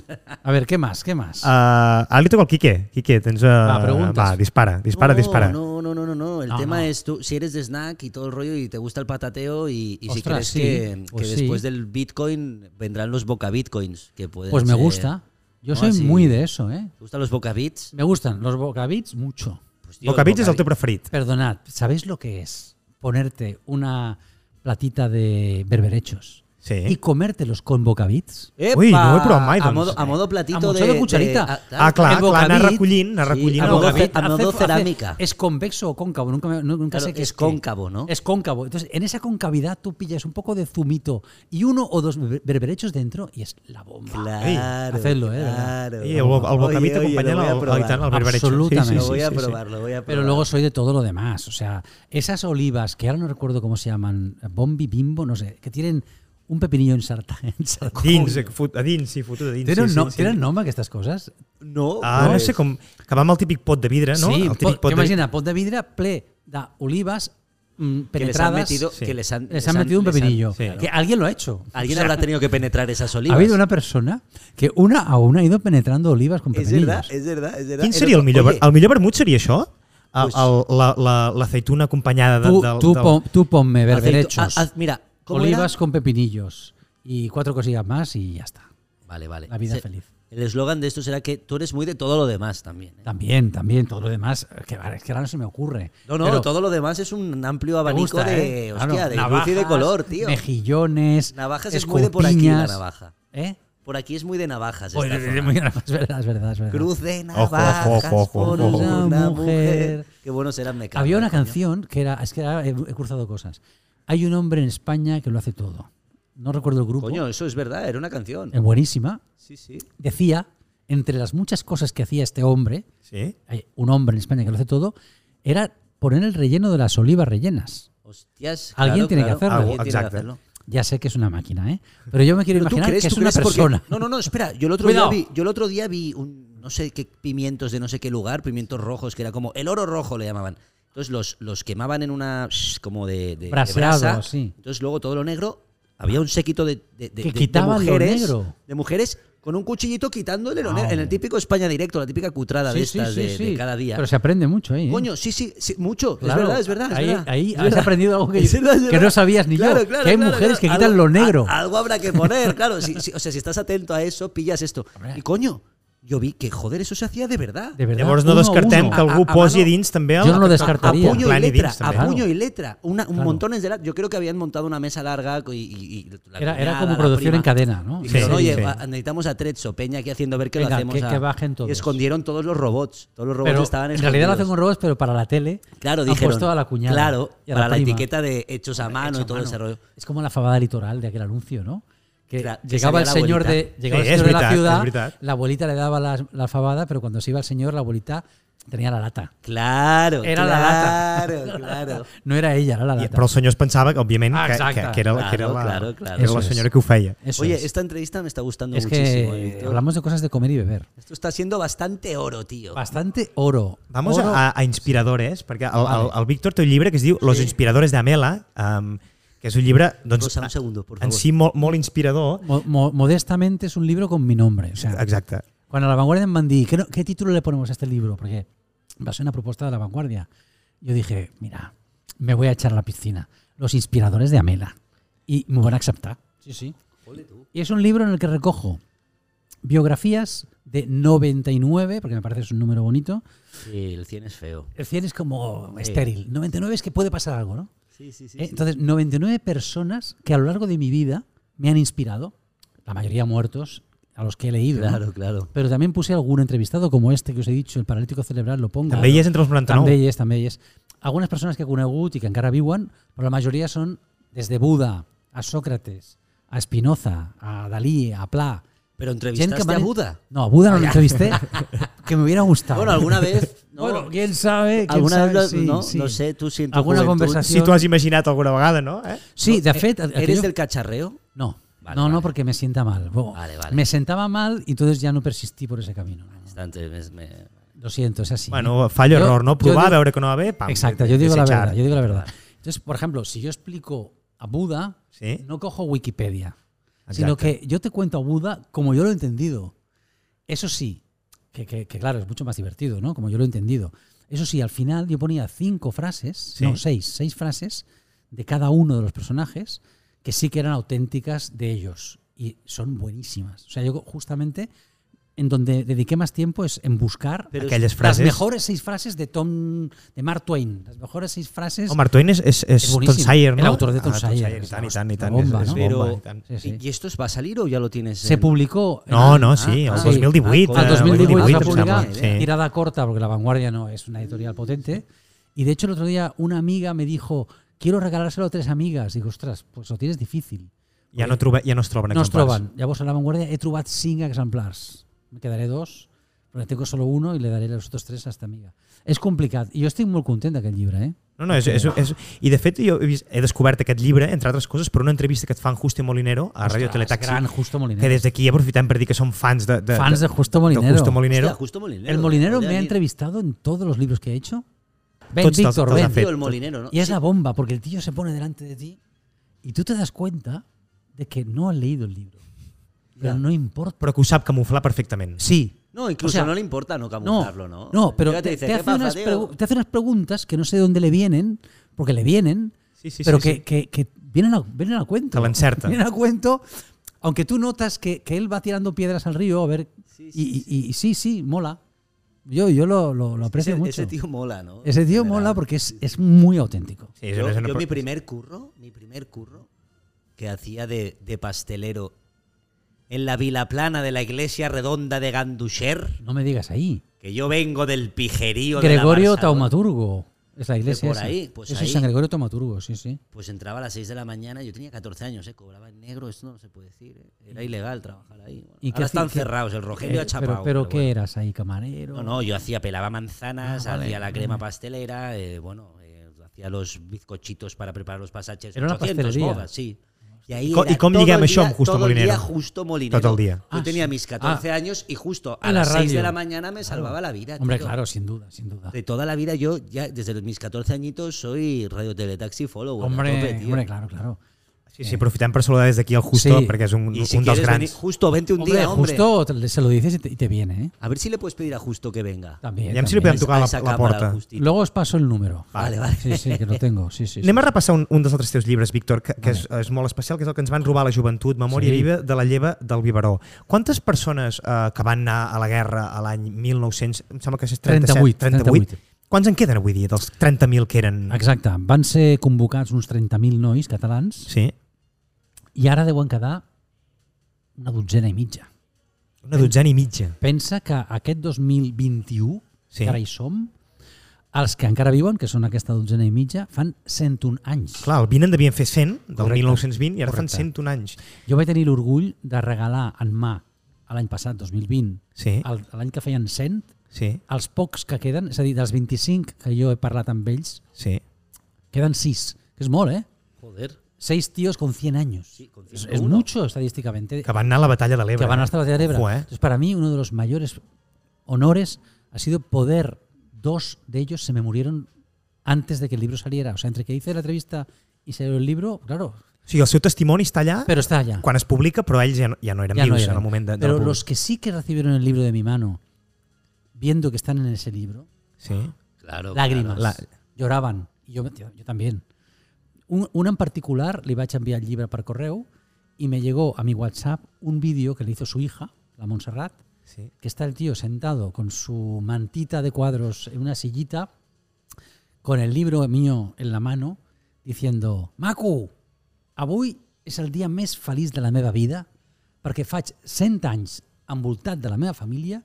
[SPEAKER 1] A veure, què més? Què més?
[SPEAKER 2] Uh, ara li toca al Quique. Quique, tens... Uh,
[SPEAKER 1] Va, preguntes.
[SPEAKER 2] Va, dispara, dispara,
[SPEAKER 3] no,
[SPEAKER 2] dispara.
[SPEAKER 3] No, no, no, no, no. El
[SPEAKER 1] No,
[SPEAKER 3] tema
[SPEAKER 1] no.
[SPEAKER 3] es tú, si eres de snack y todo el rollo y te gusta el patateo y, y si
[SPEAKER 1] Ostras,
[SPEAKER 3] crees
[SPEAKER 1] sí,
[SPEAKER 3] que,
[SPEAKER 1] pues
[SPEAKER 3] que
[SPEAKER 1] sí.
[SPEAKER 3] después del Bitcoin vendrán los boca Bitcoins. Que pueden
[SPEAKER 1] Pues me
[SPEAKER 3] ser-
[SPEAKER 1] gusta. Yo
[SPEAKER 3] No,
[SPEAKER 1] soy
[SPEAKER 3] sí.
[SPEAKER 1] muy de eso, ¿eh?
[SPEAKER 3] ¿Te gustan los boca Bits?
[SPEAKER 1] Me gustan los bocabits mucho.
[SPEAKER 3] Pues, tío,
[SPEAKER 2] Bocavits és el
[SPEAKER 3] Bit-
[SPEAKER 2] teu preferit.
[SPEAKER 1] Perdonad, ¿sabéis lo que es ponerte una platita de berberechos
[SPEAKER 2] Sí.
[SPEAKER 1] y comértelos con bocabits?
[SPEAKER 2] Ui, no ho he
[SPEAKER 3] Epa!
[SPEAKER 2] provat mai,
[SPEAKER 3] A
[SPEAKER 2] doncs.
[SPEAKER 3] modo, a modo Eh, platito
[SPEAKER 1] modo
[SPEAKER 3] de,
[SPEAKER 1] de cucharita.
[SPEAKER 2] Ah, clar,
[SPEAKER 1] El
[SPEAKER 2] clar, anar
[SPEAKER 1] bocavit,
[SPEAKER 2] recollint, anar
[SPEAKER 3] sí,
[SPEAKER 2] recollint.
[SPEAKER 3] el
[SPEAKER 2] el-
[SPEAKER 3] bocavit. a modo
[SPEAKER 1] hace-
[SPEAKER 3] cerámica.
[SPEAKER 1] ¿Es convexo o cóncavo? Nunca, me- nu- nunca
[SPEAKER 3] Claro,
[SPEAKER 1] sé qué
[SPEAKER 3] es
[SPEAKER 1] qué.
[SPEAKER 3] cóncavo, ¿no?
[SPEAKER 1] Es cóncavo. Entonces, en esa concavidad tú pillas un poco de zumito y uno o dos ber- berberechos dentro y es la bomba.
[SPEAKER 3] Claro.
[SPEAKER 1] Ey, hacedlo, eh,
[SPEAKER 3] Claro.
[SPEAKER 2] I el, bo- el
[SPEAKER 3] Oye,
[SPEAKER 2] bocavit
[SPEAKER 3] oye,
[SPEAKER 2] acompanyant
[SPEAKER 3] lo voy a
[SPEAKER 2] el, el,
[SPEAKER 3] probar.
[SPEAKER 2] guitarra, el berberecho.
[SPEAKER 1] Absolutamente.
[SPEAKER 3] Lo voy a probar, lo voy a probar.
[SPEAKER 1] Pero luego soy de todo lo demás. O sea, esas olivas que ahora no recuerdo cómo se llaman, bombi, bimbo, no sé, que tienen un pepinillo ensarta- ensarcado.
[SPEAKER 2] Dins, eh, fot, a dins, sí, fotut a dins.
[SPEAKER 1] ¿Tienen,
[SPEAKER 2] sí,
[SPEAKER 1] no-
[SPEAKER 2] sí,
[SPEAKER 1] ¿tienen
[SPEAKER 2] sí.
[SPEAKER 1] nombre que estas cosas?
[SPEAKER 3] No,
[SPEAKER 2] Ah, no sé com... Que va amb el típic pot de vidre, no?
[SPEAKER 1] Sí,
[SPEAKER 2] el
[SPEAKER 1] pot,
[SPEAKER 2] típic pot,
[SPEAKER 1] que
[SPEAKER 2] de vidre.
[SPEAKER 3] pues,
[SPEAKER 1] imagina, pot Ah, de vidre ple de olivas mm,
[SPEAKER 3] Que les han
[SPEAKER 1] penetradas.
[SPEAKER 3] metido,
[SPEAKER 2] Sí.
[SPEAKER 3] que les han,
[SPEAKER 1] Les han metido un
[SPEAKER 3] les han-
[SPEAKER 1] pepinillo.
[SPEAKER 2] sí.
[SPEAKER 1] Que alguien lo ha hecho.
[SPEAKER 3] Alguien habrá tenido que penetrar esas
[SPEAKER 1] Ha
[SPEAKER 3] olivas.
[SPEAKER 1] habido una persona que una a una ha ido penetrando olivas con
[SPEAKER 3] Es verdad,
[SPEAKER 1] pepinillos.
[SPEAKER 3] es verdad, es verdad.
[SPEAKER 2] Quin seria el
[SPEAKER 3] otro-
[SPEAKER 2] millor?
[SPEAKER 3] Oye,
[SPEAKER 2] ver- El millor vermut seria això? El,
[SPEAKER 3] Pues-
[SPEAKER 2] el, la, la, l'aceituna acompanyada de,
[SPEAKER 1] Tú,
[SPEAKER 2] del...
[SPEAKER 1] tú,
[SPEAKER 2] del...
[SPEAKER 1] pon- tú ponme
[SPEAKER 3] aceito-
[SPEAKER 1] berberechos,
[SPEAKER 3] ah, ah, mira, ¿cómo
[SPEAKER 1] olivas
[SPEAKER 3] era?
[SPEAKER 1] con pepinillos y cuatro cosillas más y ya está.
[SPEAKER 3] Vale, vale.
[SPEAKER 1] La vida
[SPEAKER 3] Se-
[SPEAKER 1] feliz.
[SPEAKER 3] El eslogan de esto será que tú eres muy de todo lo demás también. ¿eh?
[SPEAKER 1] También, también, todo lo demás, eh, que, vale, es que ahora no se me ocurre.
[SPEAKER 3] No, no,
[SPEAKER 1] Pero
[SPEAKER 3] todo lo demás es un amplio
[SPEAKER 1] me
[SPEAKER 3] abanico
[SPEAKER 1] gusta,
[SPEAKER 3] de,
[SPEAKER 1] ¿eh?
[SPEAKER 3] hostia,
[SPEAKER 1] Claro,
[SPEAKER 3] de luz
[SPEAKER 1] navajas,
[SPEAKER 3] y de color, tío.
[SPEAKER 1] Mejillones,
[SPEAKER 3] Navajas es muy de por aquí, la
[SPEAKER 1] escorpiñas,
[SPEAKER 3] navaja.
[SPEAKER 1] ¿eh?
[SPEAKER 3] Por aquí es muy de navajas.
[SPEAKER 1] Bueno,
[SPEAKER 3] esta
[SPEAKER 1] es
[SPEAKER 3] zona.
[SPEAKER 1] muy- Pues, eh, es verdad, es verdad, es verdad.
[SPEAKER 3] Cruz de
[SPEAKER 2] Ojo, ojo,
[SPEAKER 3] navajas
[SPEAKER 2] ojo,
[SPEAKER 3] por
[SPEAKER 1] ojo, ojo.
[SPEAKER 3] una
[SPEAKER 1] Una
[SPEAKER 3] mujer.
[SPEAKER 1] mujer.
[SPEAKER 3] Qué buenos eran me
[SPEAKER 1] Había
[SPEAKER 3] cago,
[SPEAKER 1] una
[SPEAKER 3] coño.
[SPEAKER 1] canción que era. Es que ahora he, he cruzado cosas. Hay un hombre en España que lo hace todo. No recuerdo el grupo.
[SPEAKER 3] Coño, eso es verdad, era una canción.
[SPEAKER 1] Es buenísima.
[SPEAKER 3] Sí, sí.
[SPEAKER 1] Decía, entre las muchas cosas que hacía este hombre,
[SPEAKER 2] Sí?
[SPEAKER 1] hay un hombre en España que lo hace todo, era poner el relleno de las olivas rellenas.
[SPEAKER 3] Hostias.
[SPEAKER 1] Alguien tiene que hacerlo.
[SPEAKER 3] alguien tiene que
[SPEAKER 2] Exacto.
[SPEAKER 3] hacerlo.
[SPEAKER 1] Ya sé que es una máquina, ¿eh? Pero yo me quiero
[SPEAKER 3] Pero tú
[SPEAKER 1] imaginar
[SPEAKER 3] crees,
[SPEAKER 1] que es
[SPEAKER 3] tú
[SPEAKER 1] una
[SPEAKER 3] crees porque-
[SPEAKER 1] persona.
[SPEAKER 3] No, no, no, espera. Yo el otro
[SPEAKER 1] Cuidado.
[SPEAKER 3] día vi, yo el otro día vi un, no sé qué pimientos de no sé qué lugar, pimientos rojos, que era como el oro rojo le llamaban. Entonces los, los quemaban en una shh, como de, de- de
[SPEAKER 1] Braseado,
[SPEAKER 3] brasa.
[SPEAKER 1] sí.
[SPEAKER 3] Entonces luego todo lo negro, había un séquito de, de- de- de- de
[SPEAKER 1] quitaban lo
[SPEAKER 3] mujeres,
[SPEAKER 1] negro.
[SPEAKER 3] de mujeres con un cuchillito quitándole lo
[SPEAKER 1] Wow.
[SPEAKER 3] negro. En el típico España directo, la típica cutrada de estas de, de cada día.
[SPEAKER 1] Pero se aprende mucho ahí. ¿eh?
[SPEAKER 3] Coño, sí, sí, sí, mucho.
[SPEAKER 1] Claro,
[SPEAKER 3] es verdad, es verdad. es
[SPEAKER 1] ahí-
[SPEAKER 3] verdad.
[SPEAKER 1] ahí
[SPEAKER 3] Es
[SPEAKER 1] has
[SPEAKER 3] verdad.
[SPEAKER 1] aprendido algo que-
[SPEAKER 3] Es verdad, es
[SPEAKER 1] que
[SPEAKER 3] verdad.
[SPEAKER 1] no sabías ni yo, que hay mujeres que quitan
[SPEAKER 3] Algo-
[SPEAKER 1] lo negro.
[SPEAKER 3] a- algo habrá que poner, claro. si- si- o sea, si estás atento a eso, pillas esto.
[SPEAKER 1] Hombre.
[SPEAKER 3] Y coño, yo vi que, joder, eso se hacía de verdad.
[SPEAKER 1] De verdad.
[SPEAKER 2] Llavors no
[SPEAKER 1] uno a
[SPEAKER 2] descartem
[SPEAKER 1] uno.
[SPEAKER 2] que algú
[SPEAKER 3] A- a
[SPEAKER 2] posi
[SPEAKER 3] mano-
[SPEAKER 2] a dins també...
[SPEAKER 1] Jo no lo
[SPEAKER 3] a
[SPEAKER 2] el-
[SPEAKER 1] descartaría.
[SPEAKER 3] puño y
[SPEAKER 2] plan
[SPEAKER 3] letra,
[SPEAKER 2] dins,
[SPEAKER 3] a
[SPEAKER 2] també.
[SPEAKER 1] Claro.
[SPEAKER 3] puño y letra. Una- un
[SPEAKER 1] Claro.
[SPEAKER 3] montón de la- Yo creo que habían montado una mesa larga y. y- y la
[SPEAKER 1] Era,
[SPEAKER 3] cuñada,
[SPEAKER 1] era como
[SPEAKER 3] la
[SPEAKER 1] producción
[SPEAKER 3] prima.
[SPEAKER 1] en cadena, ¿no?
[SPEAKER 3] Dijeron,
[SPEAKER 2] Sí,
[SPEAKER 3] oye,
[SPEAKER 2] sí.
[SPEAKER 3] va- necesitamos a Trezzo, Peña aquí haciendo ver que lo
[SPEAKER 1] Venga,
[SPEAKER 3] hacemos.
[SPEAKER 1] que-
[SPEAKER 3] a-
[SPEAKER 1] que bajen
[SPEAKER 3] y
[SPEAKER 1] todos.
[SPEAKER 3] escondieron todos los robots. Todos los robots
[SPEAKER 1] Pero
[SPEAKER 3] estaban
[SPEAKER 1] en realidad
[SPEAKER 3] escondidos.
[SPEAKER 1] lo hacen con robots, pero para la tele.
[SPEAKER 3] Claro,
[SPEAKER 1] han
[SPEAKER 3] dijeron.
[SPEAKER 1] puesto a la cuñada.
[SPEAKER 3] Claro,
[SPEAKER 1] y a
[SPEAKER 3] para la
[SPEAKER 1] prima.
[SPEAKER 3] etiqueta de hechos a mano
[SPEAKER 1] Hecho
[SPEAKER 3] y todo
[SPEAKER 1] a mano.
[SPEAKER 3] ese rollo.
[SPEAKER 1] Es como la fabada litoral de aquel anuncio, ¿no? Que
[SPEAKER 3] Claro, que
[SPEAKER 1] llegaba el
[SPEAKER 3] salía la
[SPEAKER 1] señor de,
[SPEAKER 3] abuelita.
[SPEAKER 1] llegaba el
[SPEAKER 2] Sí, es
[SPEAKER 1] señor de la
[SPEAKER 2] verdad, es
[SPEAKER 1] ciudad,
[SPEAKER 2] verdad.
[SPEAKER 1] la abuelita le daba la, la fabada, pero cuando se iba el señor, la abuelita tenía la lata.
[SPEAKER 3] Claro,
[SPEAKER 1] Era la lata.
[SPEAKER 3] claro, claro.
[SPEAKER 1] No era ella, era la
[SPEAKER 2] I,
[SPEAKER 1] lata.
[SPEAKER 2] però el senyor es pensava, que, òbviament,
[SPEAKER 1] Ah,
[SPEAKER 2] que,
[SPEAKER 1] exacte.
[SPEAKER 2] que, que, era, que era
[SPEAKER 3] Claro,
[SPEAKER 2] la,
[SPEAKER 3] claro, claro.
[SPEAKER 2] que era
[SPEAKER 1] Eso
[SPEAKER 2] la
[SPEAKER 1] es.
[SPEAKER 2] senyora que ho feia.
[SPEAKER 1] Eso
[SPEAKER 3] Oye,
[SPEAKER 1] es.
[SPEAKER 3] esta entrevista me está gustando
[SPEAKER 1] Es
[SPEAKER 3] muchísimo.
[SPEAKER 1] que
[SPEAKER 2] ¿eh?
[SPEAKER 3] Víctor.
[SPEAKER 1] hablamos de cosas de comer y beber.
[SPEAKER 3] Esto está siendo bastante oro, tío.
[SPEAKER 1] Bastante oro.
[SPEAKER 2] Vamos
[SPEAKER 1] Oro-
[SPEAKER 2] a, a inspiradores, perquè el, el, el Víctor té un llibre que es diu Los inspiradores de Amela, um, que és un llibre doncs,
[SPEAKER 3] Rosa, un segundo, por
[SPEAKER 2] en
[SPEAKER 3] favor.
[SPEAKER 2] si molt, molt inspirador.
[SPEAKER 1] Mo- mo- modestamente es un libro con mi nombre. O sea,
[SPEAKER 2] Exacte.
[SPEAKER 1] Cuando a La Vanguardia me mandí, ¿qué, no- qué título le ponemos a este libro? Porque va a ser una propuesta de La Vanguardia. Yo dije, mira, me voy a echar a la piscina. Los inspiradores de Amela. Y me van a aceptar. Sí, sí. Y es un libro en el que recojo biografías de 99, porque me parece que es un número bonito.
[SPEAKER 3] Sí, el 100 es feo.
[SPEAKER 1] El 100 es como
[SPEAKER 3] Sí.
[SPEAKER 1] estéril. 99 es que puede pasar algo, ¿no?
[SPEAKER 3] Sí, sí, sí.
[SPEAKER 1] Eh, Entonces, 99 personas que a lo largo de mi vida me han inspirado, la mayoría muertos, a los que he leído. ¿no?
[SPEAKER 3] Claro, claro.
[SPEAKER 1] Pero también puse algún entrevistado como este que os he dicho, el paralítico cerebral, lo pongo.
[SPEAKER 2] També hi és entre els 99.
[SPEAKER 1] També hi és, també hi és. Algunes persones que he conegut i que encara viuen, però la majoria són des de Buda a Sócrates, a Espinoza, a Dalí, a Pla.
[SPEAKER 3] Pero
[SPEAKER 1] Gent que
[SPEAKER 3] entrevistaste
[SPEAKER 1] m'han-
[SPEAKER 3] a Buda.
[SPEAKER 1] No, a Buda no l'entrevisté, que me hubiera gustado.
[SPEAKER 3] Bueno, alguna vez. No,
[SPEAKER 1] Bueno, quién sabe, quién
[SPEAKER 3] alguna vez, lo-
[SPEAKER 1] sabe, sí,
[SPEAKER 3] no,
[SPEAKER 1] sí.
[SPEAKER 3] no sé, tú si en tu
[SPEAKER 1] Alguna
[SPEAKER 3] juventud-
[SPEAKER 1] conversación.
[SPEAKER 2] Si t'ho has imaginat alguna vegada, no? Eh?
[SPEAKER 1] Sí, de
[SPEAKER 3] Eh,
[SPEAKER 1] fet...
[SPEAKER 3] ¿Eres
[SPEAKER 1] aquello-
[SPEAKER 3] del cacharreo?
[SPEAKER 1] No,
[SPEAKER 3] Vale,
[SPEAKER 1] no, no,
[SPEAKER 3] vale.
[SPEAKER 1] porque me sienta mal. Bueno,
[SPEAKER 3] Vale, vale.
[SPEAKER 1] Me sentaba mal y entonces ya no persistí por ese camino.
[SPEAKER 3] Bastante, me- me-
[SPEAKER 1] Lo siento, es así.
[SPEAKER 2] Bueno, fallo,
[SPEAKER 1] Yo-
[SPEAKER 2] error, no?
[SPEAKER 1] yo
[SPEAKER 2] Provar,
[SPEAKER 1] digo-
[SPEAKER 2] veure que no va bé, pam.
[SPEAKER 1] Exacto, yo digo la
[SPEAKER 2] desechar.
[SPEAKER 1] verdad, yo digo la verdad. Entonces, por ejemplo, si yo explico a Buda,
[SPEAKER 2] Sí. Ah,
[SPEAKER 1] no cojo Wikipedia,
[SPEAKER 2] Exacto.
[SPEAKER 1] sino que yo te cuento a Buda como yo lo he entendido. Eso sí, que, que- que claro, es mucho más divertido, ¿no? Como yo lo he entendido. Eso sí, al final yo ponía cinco frases,
[SPEAKER 2] Sí.
[SPEAKER 1] no, seis, seis frases de cada uno de los personajes que sí que eran auténticas de ellos y son buenísimas. O sea, yo justamente en donde dediqué más tiempo es en buscar
[SPEAKER 3] Pero
[SPEAKER 2] Aquelles
[SPEAKER 1] las
[SPEAKER 2] frases...
[SPEAKER 1] mejores seis frases de Tom, de Mark Twain. Las mejores seis frases.
[SPEAKER 2] Oh, Mark Twain és, és, és,
[SPEAKER 1] És
[SPEAKER 2] Tom
[SPEAKER 1] boníssim.
[SPEAKER 2] Sawyer, no?
[SPEAKER 1] El
[SPEAKER 2] Ah,
[SPEAKER 1] autor de Tom Sawyer.
[SPEAKER 2] I tant, i tant, i
[SPEAKER 1] Una
[SPEAKER 2] tant.
[SPEAKER 1] bomba,
[SPEAKER 2] és,
[SPEAKER 1] no?
[SPEAKER 2] és bomba,
[SPEAKER 3] Però-
[SPEAKER 2] i tant.
[SPEAKER 1] Sí, sí.
[SPEAKER 3] ¿Y esto es- va a salir o ya lo tienes?
[SPEAKER 1] Se
[SPEAKER 3] en-
[SPEAKER 1] publicó. en-
[SPEAKER 2] No, no, sí, el
[SPEAKER 1] ah, sí.
[SPEAKER 2] 2018.
[SPEAKER 1] Al
[SPEAKER 2] eh,
[SPEAKER 1] 2018
[SPEAKER 2] 2018,
[SPEAKER 1] va
[SPEAKER 2] em
[SPEAKER 1] publicar eh,
[SPEAKER 2] sembla, sí.
[SPEAKER 1] tirada corta, porque La Vanguardia no es una editorial potente. Y de hecho, el otro día una amiga me dijo: Quiero regalárselo a tres amigas. Digo, ostras, pues lo tienes difícil.
[SPEAKER 2] Ja no, trobe, ja no es troben
[SPEAKER 1] No os
[SPEAKER 2] exemplars.
[SPEAKER 1] troban. Llavors, a La Vanguardia he trobat cinc exemplars. Me quedaré dos, porque tengo solo uno y le daré los otros tres a esta amiga. És complicat. I jo estic molt content d'aquest llibre, eh?
[SPEAKER 2] No, no, és, és, és, I de fet jo he, vist, he descobert aquest llibre, entre altres coses, per una entrevista que et fan Justo Molinero a Radio Teletaxi,
[SPEAKER 1] gran Justo Molinero.
[SPEAKER 2] que des d'aquí aprofitem per dir que som fans de, de,
[SPEAKER 1] Fans de Justo
[SPEAKER 2] De
[SPEAKER 1] Molinero.
[SPEAKER 2] Justo Molinero.
[SPEAKER 3] Hostia, justo Molinero.
[SPEAKER 1] El Molinero
[SPEAKER 3] Podría
[SPEAKER 1] me ha
[SPEAKER 3] ir-
[SPEAKER 1] entrevistado en todos los libros que he hecho. Ven,
[SPEAKER 2] Todos,
[SPEAKER 1] Víctor,
[SPEAKER 2] todos,
[SPEAKER 1] ven.
[SPEAKER 2] todos.
[SPEAKER 3] Tío, el Molinero, ¿no?
[SPEAKER 1] Y es
[SPEAKER 3] Sí.
[SPEAKER 1] la bomba, porque el tío se pone delante de ti y tú te das cuenta de que no has leído el libro. Pero
[SPEAKER 3] Ya.
[SPEAKER 1] no importa.
[SPEAKER 2] però que ho sap camuflar perfectament.
[SPEAKER 1] Sí.
[SPEAKER 3] No, incluso
[SPEAKER 1] O sea,
[SPEAKER 3] no le importa no
[SPEAKER 1] No,
[SPEAKER 3] camuflarlo, ¿no?
[SPEAKER 1] no, pero
[SPEAKER 3] Ya
[SPEAKER 1] te,
[SPEAKER 3] dice,
[SPEAKER 1] te
[SPEAKER 3] "¿Qué
[SPEAKER 1] hace
[SPEAKER 3] pasa,
[SPEAKER 1] unas
[SPEAKER 3] tío?".
[SPEAKER 1] pregu- te hace unas preguntas que no sé de dónde le vienen, porque le vienen,
[SPEAKER 2] Sí, sí,
[SPEAKER 1] pero
[SPEAKER 2] sí,
[SPEAKER 1] que,
[SPEAKER 2] sí.
[SPEAKER 1] que- que vienen, a, vienen a cuento.
[SPEAKER 2] Que la encerta.
[SPEAKER 1] Vienen a cuento, aunque tú notas que, que él va tirando piedras al río, a ver,
[SPEAKER 3] Sí,
[SPEAKER 1] y, y- y- y sí, sí, mola. Yo, yo lo, lo- lo aprecio
[SPEAKER 3] ese,
[SPEAKER 1] mucho.
[SPEAKER 3] ese tío mola, ¿no?
[SPEAKER 1] Ese
[SPEAKER 3] En
[SPEAKER 1] tío
[SPEAKER 3] general.
[SPEAKER 1] mola porque es, es muy auténtico.
[SPEAKER 2] Sí, és,
[SPEAKER 3] Yo,
[SPEAKER 2] és una,
[SPEAKER 3] yo
[SPEAKER 2] pro-
[SPEAKER 3] mi primer curro, mi primer curro, que hacía de, de pastelero en la vila plana de la iglesia redonda de Ganducher,
[SPEAKER 1] No me digas ahí.
[SPEAKER 3] que yo vengo del pijerío de la
[SPEAKER 1] Gregorio
[SPEAKER 3] Barça,
[SPEAKER 1] Taumaturgo. Es la iglesia.
[SPEAKER 3] por
[SPEAKER 1] esa.
[SPEAKER 3] ahí, pues
[SPEAKER 1] Eso
[SPEAKER 3] ahí.
[SPEAKER 1] es San Gregorio Taumaturgo, sí, sí.
[SPEAKER 3] Pues entraba a las 6 de la mañana, yo tenía 14 años, ¿eh? cobraba en negro, esto no se puede decir, ¿eh? era ilegal trabajar ahí. Bueno,
[SPEAKER 1] ¿Y qué
[SPEAKER 3] ahora
[SPEAKER 1] hacía-
[SPEAKER 3] están
[SPEAKER 1] qué-
[SPEAKER 3] cerrados, el Rogelio
[SPEAKER 1] Eh,
[SPEAKER 3] ha
[SPEAKER 1] pero,
[SPEAKER 3] chapado.
[SPEAKER 1] pero
[SPEAKER 3] pero
[SPEAKER 1] ¿qué
[SPEAKER 3] bueno.
[SPEAKER 1] eras ahí, camarero?
[SPEAKER 3] No, no, yo hacía, pelaba manzanas,
[SPEAKER 1] Ah, vale,
[SPEAKER 3] hacía la crema
[SPEAKER 1] vale.
[SPEAKER 3] pastelera, eh, bueno, eh, hacía los bizcochitos para preparar los pasaches.
[SPEAKER 1] Era una
[SPEAKER 3] 800
[SPEAKER 1] pastelería.
[SPEAKER 3] bodas, sí. Y, ahí
[SPEAKER 2] ¿Y co- y
[SPEAKER 3] era
[SPEAKER 2] com
[SPEAKER 3] todo
[SPEAKER 2] lligam
[SPEAKER 3] el
[SPEAKER 2] això
[SPEAKER 3] día-
[SPEAKER 2] amb Justo
[SPEAKER 3] todo el día
[SPEAKER 2] Molinero?
[SPEAKER 3] Justo Molinero.
[SPEAKER 2] Todo el día.
[SPEAKER 3] Yo
[SPEAKER 1] Ah,
[SPEAKER 3] tenía
[SPEAKER 1] sí.
[SPEAKER 3] mis 14 años y justo a
[SPEAKER 1] En la
[SPEAKER 3] las 6 de
[SPEAKER 1] radio.
[SPEAKER 3] la mañana me salvaba la vida.
[SPEAKER 1] Hombre,
[SPEAKER 3] tío.
[SPEAKER 1] claro, sin duda, sin duda.
[SPEAKER 3] De toda la vida yo, ya desde mis 14 añitos, soy Radio Teletaxi follower. a
[SPEAKER 1] Hombre,
[SPEAKER 3] tope, tío.
[SPEAKER 1] hombre, claro, claro.
[SPEAKER 2] sí, sí, aprofitem per saludar des d'aquí el Justo,
[SPEAKER 1] Sí.
[SPEAKER 2] perquè és un,
[SPEAKER 3] Y si
[SPEAKER 2] un dels
[SPEAKER 3] quieres venir,
[SPEAKER 2] grans.
[SPEAKER 3] justo, vente un
[SPEAKER 1] Hombre,
[SPEAKER 3] día, hombre.
[SPEAKER 1] justo te- se lo dices y te, y te viene, ¿eh?
[SPEAKER 3] A ver si le puedes pedir a Justo que venga.
[SPEAKER 1] También.
[SPEAKER 2] Aviam si li
[SPEAKER 1] también.
[SPEAKER 2] podem tocar
[SPEAKER 3] A
[SPEAKER 2] la,
[SPEAKER 3] esa
[SPEAKER 2] la
[SPEAKER 3] cámara,
[SPEAKER 2] porta.
[SPEAKER 3] Justito.
[SPEAKER 1] Luego os paso el número.
[SPEAKER 3] Vale, vale.
[SPEAKER 1] Sí, sí, que lo tengo. Sí, sí. sí.
[SPEAKER 2] Anem a repassar un, un dels altres teus llibres, Víctor, que, que és, és molt especial, que és el que ens van robar a la joventut, Memòria
[SPEAKER 1] Sí.
[SPEAKER 2] sí. viva de la lleva del biberó. Quantes persones eh, que van anar a la guerra a l'any 1900, em sembla que és
[SPEAKER 1] 38,
[SPEAKER 2] 37,
[SPEAKER 1] 38.
[SPEAKER 2] Quants en queden avui dia dels 30.000 que eren?
[SPEAKER 1] Exacte. Van ser convocats uns 30.000 nois catalans
[SPEAKER 2] Sí,
[SPEAKER 1] i ara deuen quedar una dotzena i mitja.
[SPEAKER 2] una dotzena i mitja.
[SPEAKER 1] Pensa que aquest 2021, sí.
[SPEAKER 2] Sí.
[SPEAKER 1] que ara hi som, els que encara viuen, que són aquesta dotzena i mitja, fan 101 anys.
[SPEAKER 2] Clar, el 20 en devien fer 100, del
[SPEAKER 1] Correcte.
[SPEAKER 2] 1920, i ara
[SPEAKER 1] Correcte.
[SPEAKER 2] fan 101 anys.
[SPEAKER 1] Jo vaig tenir l'orgull de regalar en mà a l'any passat, 2020,
[SPEAKER 2] Sí,
[SPEAKER 1] el- l'any que feien 100,
[SPEAKER 2] sí,
[SPEAKER 1] els pocs que queden, és a dir, dels 25 que jo he parlat amb ells,
[SPEAKER 2] sí.
[SPEAKER 1] queden 6, que és molt, eh?
[SPEAKER 3] Joder.
[SPEAKER 1] 6 tíos con 100 años.
[SPEAKER 3] Sí, con
[SPEAKER 1] es,
[SPEAKER 3] 101.
[SPEAKER 1] es mucho estadísticamente.
[SPEAKER 2] Que van anar a la batalla de l'Ebre.
[SPEAKER 1] que van hasta la batalla de Ebra.
[SPEAKER 2] Ojo, eh?
[SPEAKER 1] Entonces, para mí, uno de los mayores honores ha sido poder. Dos de ellos se me murieron antes de que el libro saliera. O sea, entre que hice la entrevista y salió el libro, claro,
[SPEAKER 2] O sigui, el seu testimoni està allà
[SPEAKER 1] pero está allá.
[SPEAKER 2] quan es publica, però ells ja no, ja no eren
[SPEAKER 1] Ya no
[SPEAKER 2] vius
[SPEAKER 1] eran.
[SPEAKER 2] en el moment de, de
[SPEAKER 1] Pero
[SPEAKER 2] la
[SPEAKER 1] los que sí que recibieron el libro de mi mano, viendo que están en ese libro,
[SPEAKER 2] Sí.
[SPEAKER 3] Claro.
[SPEAKER 1] lágrimas,
[SPEAKER 2] La-
[SPEAKER 1] lloraven. I jo, jo, jo també. Un, un en particular li vaig enviar el llibre per correu y me llegó a mi WhatsApp un vídeo que le hizo su hija, la Montserrat,
[SPEAKER 2] sí.
[SPEAKER 1] que está el tío sentado con su mantita de cuadros en una sillita, con el libro mío en la mano, diciendo, Maco, avui és el dia més feliç de la meva vida perquè faig 100 anys envoltat de la meva família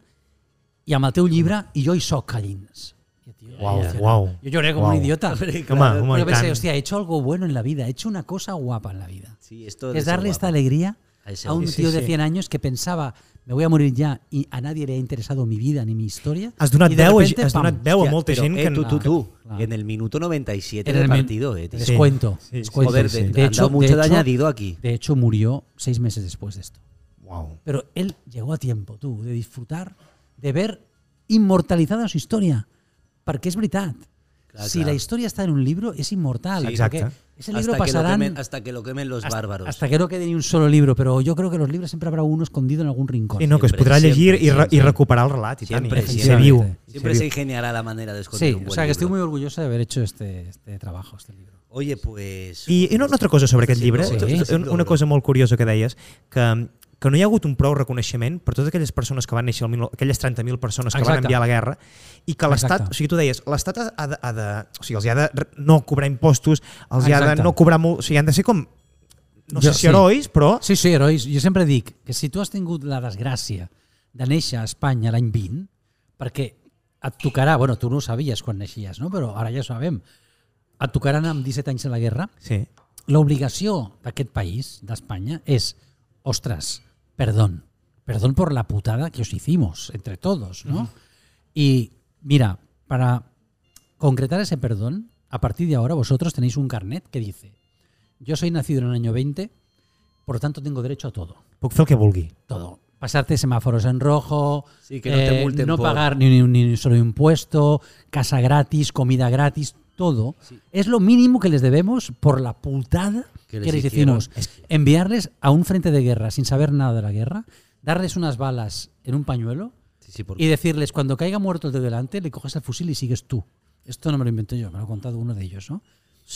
[SPEAKER 1] i amb el teu llibre i jo hi soc a dins. I el tio,
[SPEAKER 2] Uau,
[SPEAKER 1] emocionat.
[SPEAKER 2] uau.
[SPEAKER 1] Jo lloré com
[SPEAKER 2] Uau.
[SPEAKER 1] un idiota.
[SPEAKER 2] Home, home,
[SPEAKER 1] Yo
[SPEAKER 2] i tant.
[SPEAKER 1] pensé, hostia, he hecho algo bueno en la vida, he hecho una cosa guapa en la vida.
[SPEAKER 3] Sí, esto de
[SPEAKER 1] es
[SPEAKER 3] ser
[SPEAKER 1] darle esta
[SPEAKER 3] guapo.
[SPEAKER 1] alegría
[SPEAKER 3] A ese
[SPEAKER 1] a un
[SPEAKER 3] hombre.
[SPEAKER 1] tío de
[SPEAKER 2] sí.
[SPEAKER 1] 100 años que pensaba, me voy a morir ya y a nadie le ha interesado mi vida ni mi historia.
[SPEAKER 2] Has donat
[SPEAKER 1] Y de
[SPEAKER 2] veu, a-
[SPEAKER 1] repente,
[SPEAKER 2] has
[SPEAKER 1] pam,
[SPEAKER 2] donat veu a
[SPEAKER 3] Hostia,
[SPEAKER 2] molta
[SPEAKER 3] pero,
[SPEAKER 2] gent
[SPEAKER 3] eh,
[SPEAKER 2] que...
[SPEAKER 3] tú, tú, tú,
[SPEAKER 1] claro.
[SPEAKER 3] en el minuto 97
[SPEAKER 1] En
[SPEAKER 3] del
[SPEAKER 1] el men-
[SPEAKER 3] partido, eh, tío.
[SPEAKER 2] Sí,
[SPEAKER 1] Descuento.
[SPEAKER 2] sí, sí,
[SPEAKER 1] descuento.
[SPEAKER 3] Joder, de- han dado mucho de añadido aquí.
[SPEAKER 1] De hecho, murió seis meses después de esto.
[SPEAKER 2] Uau.
[SPEAKER 1] Pero él llegó a tiempo, tú, de disfrutar, de ver inmortalizada su historia. Porque es verdad.
[SPEAKER 3] Clar,
[SPEAKER 1] si
[SPEAKER 3] clar.
[SPEAKER 1] la historia está en un libro, es inmortal.
[SPEAKER 2] Sí,
[SPEAKER 1] porque
[SPEAKER 2] exacte.
[SPEAKER 1] Ese libro
[SPEAKER 3] hasta, que lo
[SPEAKER 1] pasarán
[SPEAKER 3] quemen, hasta que lo quemen los bárbaros.
[SPEAKER 1] hasta que no quede ni un solo libro, pero yo creo que los libros siempre habrá uno escondido en algún rincón.
[SPEAKER 2] Sí, no, que es
[SPEAKER 3] Siempre,
[SPEAKER 2] podrà llegir
[SPEAKER 3] siempre,
[SPEAKER 2] i, re, i
[SPEAKER 3] siempre.
[SPEAKER 2] recuperar el relat, i tant, eh?
[SPEAKER 3] Siempre,
[SPEAKER 2] i ser
[SPEAKER 1] siempre.
[SPEAKER 2] viu.
[SPEAKER 3] Siempre
[SPEAKER 2] ser
[SPEAKER 3] se
[SPEAKER 2] viu.
[SPEAKER 3] ingeniará la manera de esconder
[SPEAKER 1] Sí,
[SPEAKER 3] un buen
[SPEAKER 1] o sea que estoy muy
[SPEAKER 3] libro.
[SPEAKER 1] orgulloso de haber hecho este, este trabajo, este libro.
[SPEAKER 3] Oye, pues...
[SPEAKER 2] I una altra cosa sobre aquest
[SPEAKER 3] Sí,
[SPEAKER 2] llibre,
[SPEAKER 3] sí,
[SPEAKER 1] sí.
[SPEAKER 2] un- una cosa molt curiosa que deies, que, que no hi ha hagut un prou reconeixement per totes aquelles persones que van néixer, al 19 aquelles 30.000 persones que van
[SPEAKER 1] Exacte.
[SPEAKER 2] enviar a la guerra, i que l'Estat,
[SPEAKER 1] Exacte.
[SPEAKER 2] o sigui, tu deies, l'Estat ha, de, ha de, o sigui, els hi ha de re- no cobrar impostos, els hi ha de
[SPEAKER 1] Exacte.
[SPEAKER 2] no cobrar molt, o sigui, han de ser com, no
[SPEAKER 1] Jo-
[SPEAKER 2] sé si
[SPEAKER 1] sí.
[SPEAKER 2] herois, però...
[SPEAKER 1] Sí, sí, herois. Jo sempre dic que si tu has tingut la desgràcia de néixer a Espanya l'any 20, perquè et tocarà, bueno, tu no ho sabies quan neixies, no? però ara ja ho sabem, et tocaran amb 17 anys a la guerra,
[SPEAKER 2] Sí.
[SPEAKER 1] l'obligació d'aquest país, d'Espanya, és, ostras, perdón, perdón por la putada que os hicimos entre todos, ¿no? Y mira, para concretar ese perdón, a partir de ahora vosotros tenéis un carnet que dice, yo soy nacido en el año 20, por lo tanto tengo derecho a todo,
[SPEAKER 2] Puc fer el que vulgui.
[SPEAKER 1] todo. Pasarte semáforos en rojo, eh,
[SPEAKER 3] Sí, que no te multen
[SPEAKER 1] no
[SPEAKER 3] por-
[SPEAKER 1] pagar ni, ni, ni solo impuesto, casa gratis, comida gratis, todo. Es lo mínimo que les debemos por la putada
[SPEAKER 3] Que
[SPEAKER 1] que
[SPEAKER 3] les
[SPEAKER 1] les,
[SPEAKER 3] hicieron.
[SPEAKER 1] hicimos. Enviarles a un frente de guerra sin saber nada de la guerra, darles unas balas en un pañuelo
[SPEAKER 3] Sí, sí, por-
[SPEAKER 1] y decirles, cuando caiga muerto el de delante, le coges el fusil y sigues tú. Esto no me lo invento yo, me lo ha contado uno de ellos, ¿no?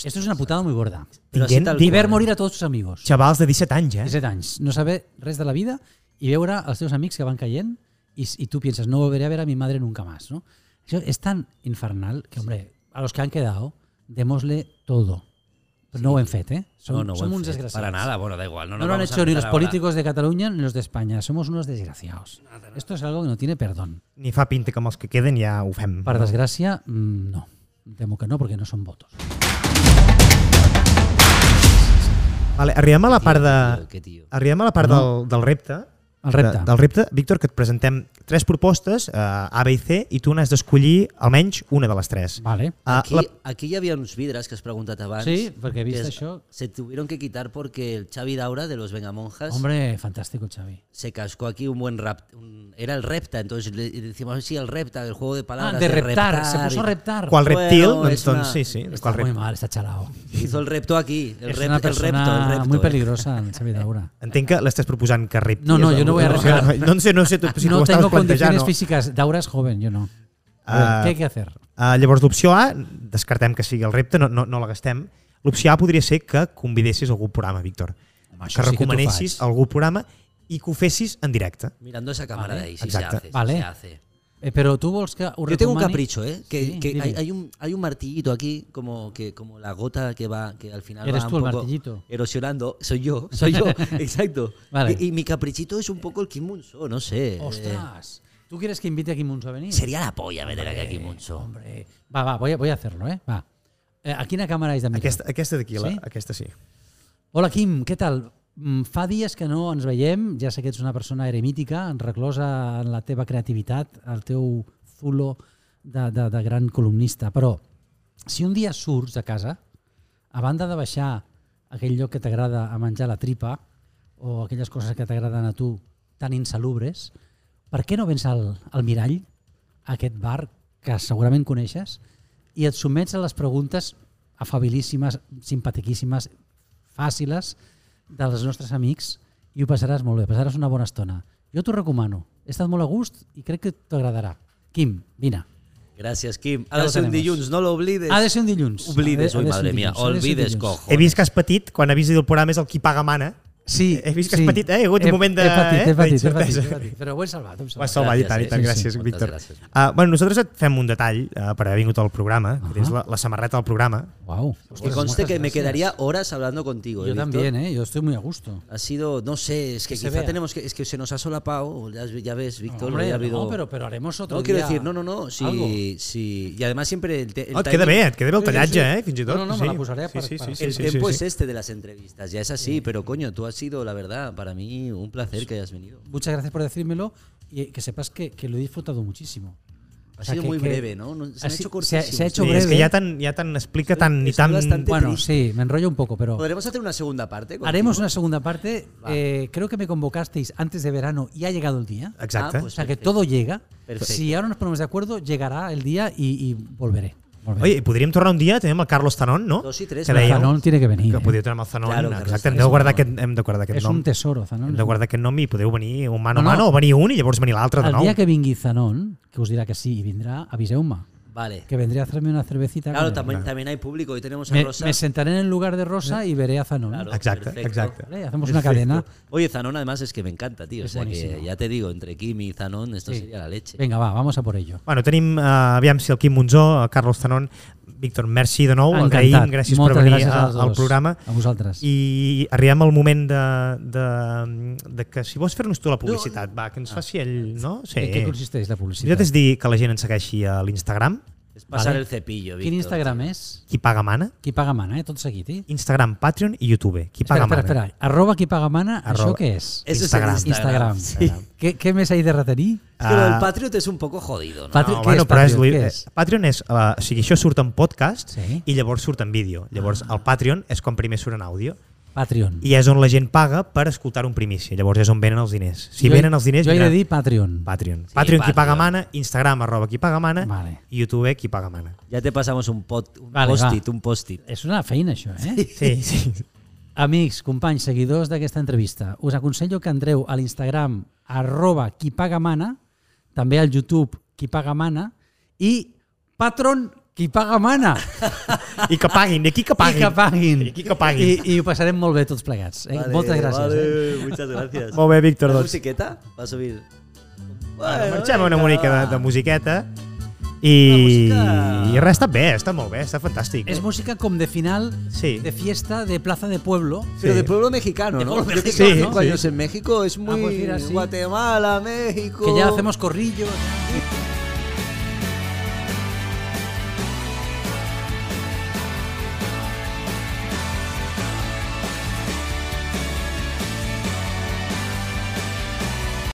[SPEAKER 1] Esto es una putada muy gorda.
[SPEAKER 3] Pero así
[SPEAKER 2] Tinguent-
[SPEAKER 3] tal
[SPEAKER 1] Y ver
[SPEAKER 3] cual.
[SPEAKER 1] morir a todos tus amigos.
[SPEAKER 2] Xavals de 17 anys, eh?
[SPEAKER 1] 17 anys, no saber res de la vida i veure els teus amics que van caient i, i tu pienses, no volveré a ver a mi madre nunca más, ¿no? Això és tan infernal que, hombre, a los que han quedado, démosle todo. Però no ho hem fet, eh? Som,
[SPEAKER 3] No, no,
[SPEAKER 1] som
[SPEAKER 3] buen
[SPEAKER 1] uns
[SPEAKER 3] fe.
[SPEAKER 1] desgraciats.
[SPEAKER 3] Para nada, bueno, da igual. No,
[SPEAKER 1] No,
[SPEAKER 3] nos
[SPEAKER 1] lo han
[SPEAKER 3] vamos a
[SPEAKER 1] hecho ni los
[SPEAKER 3] empezar ahora.
[SPEAKER 1] políticos de Cataluña ni los de España. Somos unos desgraciados. Esto es algo que no tiene perdón.
[SPEAKER 2] Ni fa pinta que amb els que queden ja ho fem.
[SPEAKER 1] Per desgràcia, mm, no. Temo que no, porque no son votos.
[SPEAKER 2] Vale, arribem a la part de...
[SPEAKER 3] Tío, qué tío.
[SPEAKER 2] Arribem a la part
[SPEAKER 1] No.
[SPEAKER 2] del, del repte.
[SPEAKER 1] El repte.
[SPEAKER 2] De, del repte, Víctor, que et presentem tres propostes, eh, A, B i C, i tu n'has d'escollir almenys una de les tres.
[SPEAKER 1] Vale.
[SPEAKER 2] Ah,
[SPEAKER 3] Aquí,
[SPEAKER 2] la-
[SPEAKER 3] aquí ya había unos vidras que has preguntado abans.
[SPEAKER 1] Sí, porque he visto
[SPEAKER 3] que es-
[SPEAKER 1] eso.
[SPEAKER 3] Se tuvieron que quitar porque el Xavi Daura de los Vengamonjas
[SPEAKER 1] Hombre, fantástico, Xavi.
[SPEAKER 3] se cascó aquí un buen rap. un- era el repta, entonces le decíamos, sí, el repta, el juego de palabras.
[SPEAKER 1] Ah, de reptar. Se puso a
[SPEAKER 3] y-
[SPEAKER 1] reptar.
[SPEAKER 2] qual
[SPEAKER 3] Bueno, és
[SPEAKER 2] reptil, doncs,
[SPEAKER 3] una-
[SPEAKER 2] doncs sí, sí. de
[SPEAKER 1] Está
[SPEAKER 2] Qual
[SPEAKER 1] muy
[SPEAKER 2] reptil.
[SPEAKER 1] mal, está chalado.
[SPEAKER 3] Hizo el repto aquí, el,
[SPEAKER 1] es
[SPEAKER 3] rep-
[SPEAKER 1] una
[SPEAKER 3] el repto, el
[SPEAKER 1] persona
[SPEAKER 3] repto.
[SPEAKER 1] muy
[SPEAKER 3] eh.
[SPEAKER 1] peligrosa en esa vida ahora.
[SPEAKER 2] Entenc que l'estàs proposant que repti.
[SPEAKER 1] No, no, jo no vull arriscar.
[SPEAKER 2] No, sé, no sé tu, si
[SPEAKER 1] Ah, no
[SPEAKER 2] t'ho estaves
[SPEAKER 1] tengo
[SPEAKER 2] plantejant.
[SPEAKER 1] condiciones
[SPEAKER 2] No.
[SPEAKER 1] físicas. Daura es joven, yo no. A ver,
[SPEAKER 2] Ah.
[SPEAKER 1] ¿Qué hay que hacer?
[SPEAKER 2] Uh, llavors, l'opció A, descartem que sigui el repte, no, no, no la gastem. L'opció A podria ser que convidessis algú al programa, Víctor.
[SPEAKER 1] Home, això
[SPEAKER 2] que
[SPEAKER 1] sí que tu
[SPEAKER 2] recomanessis
[SPEAKER 1] faig.
[SPEAKER 2] algú al programa i que ho fessis en directe.
[SPEAKER 3] Mirando esa cámara
[SPEAKER 1] Vale,
[SPEAKER 3] de ahí, sí,
[SPEAKER 2] exacto.
[SPEAKER 3] se hace. sí
[SPEAKER 1] Vale.
[SPEAKER 3] se hace.
[SPEAKER 1] Eh, pero tú, Volska,
[SPEAKER 3] Yo tengo un capricho, ¿eh? Que,
[SPEAKER 1] Sí,
[SPEAKER 3] que
[SPEAKER 1] dime.
[SPEAKER 3] hay, hay un, hay un martillito aquí, como, que, como la gota que va, que al final
[SPEAKER 1] Eres
[SPEAKER 3] va
[SPEAKER 1] tú
[SPEAKER 3] un
[SPEAKER 1] el
[SPEAKER 3] poco
[SPEAKER 1] martillito.
[SPEAKER 3] erosionando. Soy yo, soy yo, exacto.
[SPEAKER 1] Vale.
[SPEAKER 3] Y, y mi caprichito es un poco el Kim Munso, no sé. eh,
[SPEAKER 1] Ostras, ¿tú quieres que invite a Kim Munso a venir?
[SPEAKER 3] sería la polla meter aquí a Kim Munso.
[SPEAKER 1] Hombre, va, va, voy a, voy a hacerlo, ¿eh? Va. Eh, aquí en la cámara es de mirar.
[SPEAKER 2] Aquesta, aquesta d'aquí, la-
[SPEAKER 1] Sí?
[SPEAKER 2] aquesta sí.
[SPEAKER 1] Hola, Quim, què tal? Mm, Fa dies que no ens veiem, ja sé que ets una persona eremítica, reclosa en la teva creativitat, el teu zulo de, de, de gran columnista, però si un dia surts de casa, a banda de baixar a aquell lloc que t'agrada a menjar la tripa o aquelles coses que t'agraden a tu tan insalubres, per què no vens al, al mirall, a aquest bar que segurament coneixes, i et sotmets a les preguntes afabilíssimes, simpatiquíssimes, fàciles dels nostres amics i ho passaràs molt bé, passaràs una bona estona. Jo t'ho recomano, he estat molt a gust i crec que t'agradarà. Kim, vine.
[SPEAKER 3] Gracias, Kim.
[SPEAKER 1] Ja
[SPEAKER 3] Ha de
[SPEAKER 1] lo
[SPEAKER 3] ser un
[SPEAKER 1] tenemos.
[SPEAKER 3] dilluns, no lo oblides.
[SPEAKER 1] Ha de ser un dilluns.
[SPEAKER 3] Oblides,
[SPEAKER 1] Ha de-
[SPEAKER 3] ui,
[SPEAKER 1] ha de ser
[SPEAKER 3] madre
[SPEAKER 1] un
[SPEAKER 3] mía.
[SPEAKER 1] dilluns, ha de ser un
[SPEAKER 3] Olvides,
[SPEAKER 1] dilluns.
[SPEAKER 3] cojo.
[SPEAKER 2] He vist que has patit, quan he vist el programa és el qui paga mana.
[SPEAKER 1] Sí,
[SPEAKER 2] He vist que has patit, eh, hi ha hagut un moment
[SPEAKER 1] He
[SPEAKER 2] de-
[SPEAKER 1] patit,
[SPEAKER 2] eh,
[SPEAKER 1] he patit, he patit,
[SPEAKER 2] d'incertesa.
[SPEAKER 1] he patit, però ho he salvat. Ho he
[SPEAKER 2] Ho has
[SPEAKER 1] salvat.
[SPEAKER 2] salvat i tant, i
[SPEAKER 3] Gràcies,
[SPEAKER 2] tant.
[SPEAKER 1] eh?
[SPEAKER 2] Gràcies,
[SPEAKER 3] Sí, sí.
[SPEAKER 2] Víctor.
[SPEAKER 3] Moltes gràcies.
[SPEAKER 2] Ah, bueno, nosaltres et fem un detall eh, per haver vingut al programa, que tens
[SPEAKER 1] Ahà.
[SPEAKER 2] la, la samarreta del programa.
[SPEAKER 1] Wow.
[SPEAKER 3] Que conste que me quedaría horas hablando contigo.
[SPEAKER 1] Yo
[SPEAKER 3] eh, Víctor.
[SPEAKER 1] también, ¿eh? Yo estoy muy a gusto.
[SPEAKER 3] Ha sido, no sé, es que,
[SPEAKER 1] Que se
[SPEAKER 3] quizá
[SPEAKER 1] vea.
[SPEAKER 3] tenemos que, es que se nos ha solapado, ya, ya ves, Víctor,
[SPEAKER 1] Hombre,
[SPEAKER 3] ya ha habido-
[SPEAKER 1] no, pero, pero haremos otro
[SPEAKER 3] No, quiero
[SPEAKER 1] día
[SPEAKER 3] decir, no, no, no, sí,
[SPEAKER 1] algo. Ah,
[SPEAKER 3] sí. Y además siempre el, te- el
[SPEAKER 2] Oh, et queda
[SPEAKER 3] timing-
[SPEAKER 2] bé, et queda bé el
[SPEAKER 1] Sí, sí,
[SPEAKER 2] tallatge,
[SPEAKER 1] sí.
[SPEAKER 2] eh, fins i
[SPEAKER 1] No,
[SPEAKER 2] tot.
[SPEAKER 1] no, no,
[SPEAKER 2] sí.
[SPEAKER 1] me la posaré per- Eh,
[SPEAKER 2] sí, sí,
[SPEAKER 1] per-
[SPEAKER 2] sí,
[SPEAKER 3] El
[SPEAKER 2] sí,
[SPEAKER 3] tiempo
[SPEAKER 2] sí,
[SPEAKER 3] es
[SPEAKER 2] sí.
[SPEAKER 3] este de las entrevistas, ya es así, pero coño, tú has sido, la verdad, para mí un placer que hayas venido.
[SPEAKER 1] Muchas gracias por decírmelo y que sepas que, que lo he disfrutado muchísimo.
[SPEAKER 3] Ha
[SPEAKER 1] O sea,
[SPEAKER 3] sido
[SPEAKER 1] que-
[SPEAKER 3] muy
[SPEAKER 1] que-
[SPEAKER 3] breve, ¿no? No- Se
[SPEAKER 1] ha
[SPEAKER 3] han hecho
[SPEAKER 1] si- se ha-
[SPEAKER 3] cortísimos.
[SPEAKER 1] se ha hecho
[SPEAKER 2] Sí, és
[SPEAKER 1] breve.
[SPEAKER 2] que ja tan, ja tan explica tan i
[SPEAKER 3] Estoy
[SPEAKER 2] tan...
[SPEAKER 3] bastante
[SPEAKER 1] Bueno,
[SPEAKER 3] triste.
[SPEAKER 1] sí, me enrollo un poco, pero
[SPEAKER 3] ¿Podremos hacer una segunda parte? contigo?
[SPEAKER 1] haremos una segunda parte.
[SPEAKER 3] Va.
[SPEAKER 1] Eh, creo que me convocasteis antes de verano y ha llegado el día.
[SPEAKER 2] Exacte.
[SPEAKER 3] Ah,
[SPEAKER 1] O
[SPEAKER 3] pues-
[SPEAKER 1] sea que
[SPEAKER 3] perfecto.
[SPEAKER 1] todo llega.
[SPEAKER 3] Perfecto.
[SPEAKER 1] Si ahora nos ponemos de acuerdo, llegará el día y, y volveré. volveré.
[SPEAKER 2] Oye, i podríem tornar un dia, tenim el Carlos Zanón, no?
[SPEAKER 3] Dos i tres,
[SPEAKER 2] que
[SPEAKER 1] Pero
[SPEAKER 2] dèieu,
[SPEAKER 1] Zanón tiene que venir.
[SPEAKER 2] que
[SPEAKER 1] eh.
[SPEAKER 2] podíeu tornar amb el Zanón.
[SPEAKER 3] Claro, Carlos
[SPEAKER 2] Exacte, hem de
[SPEAKER 3] Zanón.
[SPEAKER 2] guardar aquest, hem de guardar aquest
[SPEAKER 1] És
[SPEAKER 2] nom.
[SPEAKER 1] un tesoro, Zanón.
[SPEAKER 2] Hem de guardar aquest nom i podeu venir un mano a
[SPEAKER 1] No, no.
[SPEAKER 2] mano, o venir un i llavors venir l'altre de
[SPEAKER 1] El
[SPEAKER 2] nou.
[SPEAKER 1] día que vingui Zanón, que os dirá que sí y vendrá, aviseu-me.
[SPEAKER 3] Vale.
[SPEAKER 1] Que vendré a hacerme una cervecita. con
[SPEAKER 3] Claro,
[SPEAKER 1] él.
[SPEAKER 3] también, también hay público. Hoy tenemos a
[SPEAKER 1] Me,
[SPEAKER 3] Rosa.
[SPEAKER 1] me sentaré en el lugar de Rosa y veré a Zanón.
[SPEAKER 3] Claro.
[SPEAKER 2] Exacte,
[SPEAKER 3] Perfecto.
[SPEAKER 2] exacte.
[SPEAKER 1] Vale, Hacemos una cadena.
[SPEAKER 3] Oye, Zanón además es que me encanta, tío.
[SPEAKER 1] Es
[SPEAKER 3] o sea que
[SPEAKER 1] buenísimo.
[SPEAKER 3] ya te digo, entre Kim y Zanón esto
[SPEAKER 1] Sí. Eh,
[SPEAKER 3] sería la leche.
[SPEAKER 1] Venga, va, vamos a por ello.
[SPEAKER 2] Bueno, tenim, eh, aviam si el Quim Monzó, el Carlos Tanón, Víctor, merci de nou,
[SPEAKER 1] Encantat.
[SPEAKER 2] agraïm, gràcies
[SPEAKER 1] Moltes
[SPEAKER 2] per venir
[SPEAKER 1] gràcies
[SPEAKER 2] a-
[SPEAKER 1] als
[SPEAKER 2] al
[SPEAKER 1] dos,
[SPEAKER 2] programa.
[SPEAKER 1] A vosaltres.
[SPEAKER 2] I arribem al moment de, de, de que si vols fer-nos tu la publicitat, va, que ens faci ell, no? Sí.
[SPEAKER 1] En què consisteix la
[SPEAKER 2] Jo
[SPEAKER 1] publicitat?
[SPEAKER 2] t'has dir que la gent ens segueixi a l'Instagram,
[SPEAKER 3] Es pasar
[SPEAKER 1] Vale.
[SPEAKER 3] el cepillo, Víctor.
[SPEAKER 1] Quin Instagram és?
[SPEAKER 2] qui paga mana,
[SPEAKER 1] Qui paga mana, eh? Tot seguit, eh?
[SPEAKER 2] Instagram, Patreon i YouTube, qui
[SPEAKER 1] Espera,
[SPEAKER 2] paga
[SPEAKER 1] espera,
[SPEAKER 2] mana.
[SPEAKER 1] espera. Arroba qui paga mana,
[SPEAKER 2] Arroba.
[SPEAKER 1] això què és?
[SPEAKER 3] Eso es
[SPEAKER 2] Instagram.
[SPEAKER 3] Instagram.
[SPEAKER 1] Instagram.
[SPEAKER 3] Sí.
[SPEAKER 1] Què, què més hi de retenir?
[SPEAKER 3] Es que lo del
[SPEAKER 2] Ah.
[SPEAKER 3] Patriot es un poco jodido, ¿no?
[SPEAKER 1] Pat- Patreon, què és
[SPEAKER 2] però
[SPEAKER 1] Patreon?
[SPEAKER 2] li-
[SPEAKER 1] Què
[SPEAKER 2] eh,
[SPEAKER 1] és?
[SPEAKER 2] Patreon és, uh, o sigui, això surt en podcast
[SPEAKER 1] Sí. Ah.
[SPEAKER 2] i llavors surt en vídeo. Llavors, el Patreon és quan primer surt en àudio.
[SPEAKER 1] Patreon.
[SPEAKER 2] i és on la gent paga per escoltar un primícia. Llavors és on venen els diners. Si
[SPEAKER 1] Jo-
[SPEAKER 2] venen els diners,
[SPEAKER 1] Jo he de
[SPEAKER 2] vindran.
[SPEAKER 1] dir Patreon.
[SPEAKER 2] Patreon. Sí, Patreon, qui
[SPEAKER 3] Patreon.
[SPEAKER 2] paga mana, Instagram, arroba qui paga mana,
[SPEAKER 1] Vale.
[SPEAKER 2] i YouTube, qui paga mana.
[SPEAKER 3] Ya te pasamos un, pot- un
[SPEAKER 1] Vale,
[SPEAKER 3] post-it,
[SPEAKER 1] va.
[SPEAKER 3] un post-it.
[SPEAKER 1] És una feina, això, eh?
[SPEAKER 2] Sí, sí.
[SPEAKER 1] Amics, companys, seguidors d'aquesta entrevista, us aconsello que entreu a l'Instagram arroba qui paga mana, també al YouTube qui paga mana i Patron qui paga mana.
[SPEAKER 2] I que paguin, d'aquí que
[SPEAKER 1] I
[SPEAKER 2] paguin.
[SPEAKER 1] que paguin.
[SPEAKER 2] I aquí que paguin.
[SPEAKER 1] I, i ho passarem molt bé tots plegats. Eh?
[SPEAKER 3] Vale,
[SPEAKER 1] Moltes gràcies. Eh?
[SPEAKER 3] vale, Muchas gracias.
[SPEAKER 2] Molt bé, Víctor,
[SPEAKER 3] ¿La
[SPEAKER 2] doncs.
[SPEAKER 3] musiqueta? Va a subir.
[SPEAKER 2] Bueno,
[SPEAKER 3] Bueno,
[SPEAKER 2] marxem una
[SPEAKER 3] venga,
[SPEAKER 2] mica de,
[SPEAKER 3] va.
[SPEAKER 2] de musiqueta.
[SPEAKER 3] I-
[SPEAKER 2] I,
[SPEAKER 3] Una música.
[SPEAKER 2] I res, està bé, està molt bé, està fantàstic.
[SPEAKER 1] És música com de final,
[SPEAKER 2] Sí.
[SPEAKER 1] de fiesta, de plaza de pueblo.
[SPEAKER 3] Pero de pueblo mexicano, ¿no?
[SPEAKER 1] pueblo
[SPEAKER 3] Yo que
[SPEAKER 1] mexicano, Ah,
[SPEAKER 3] tengo
[SPEAKER 2] Sí,
[SPEAKER 3] cinco
[SPEAKER 2] sí.
[SPEAKER 3] años en México es muy
[SPEAKER 1] pues mira, sí.
[SPEAKER 3] Guatemala, México.
[SPEAKER 1] Que ya hacemos corrillos.
[SPEAKER 3] Guatemala,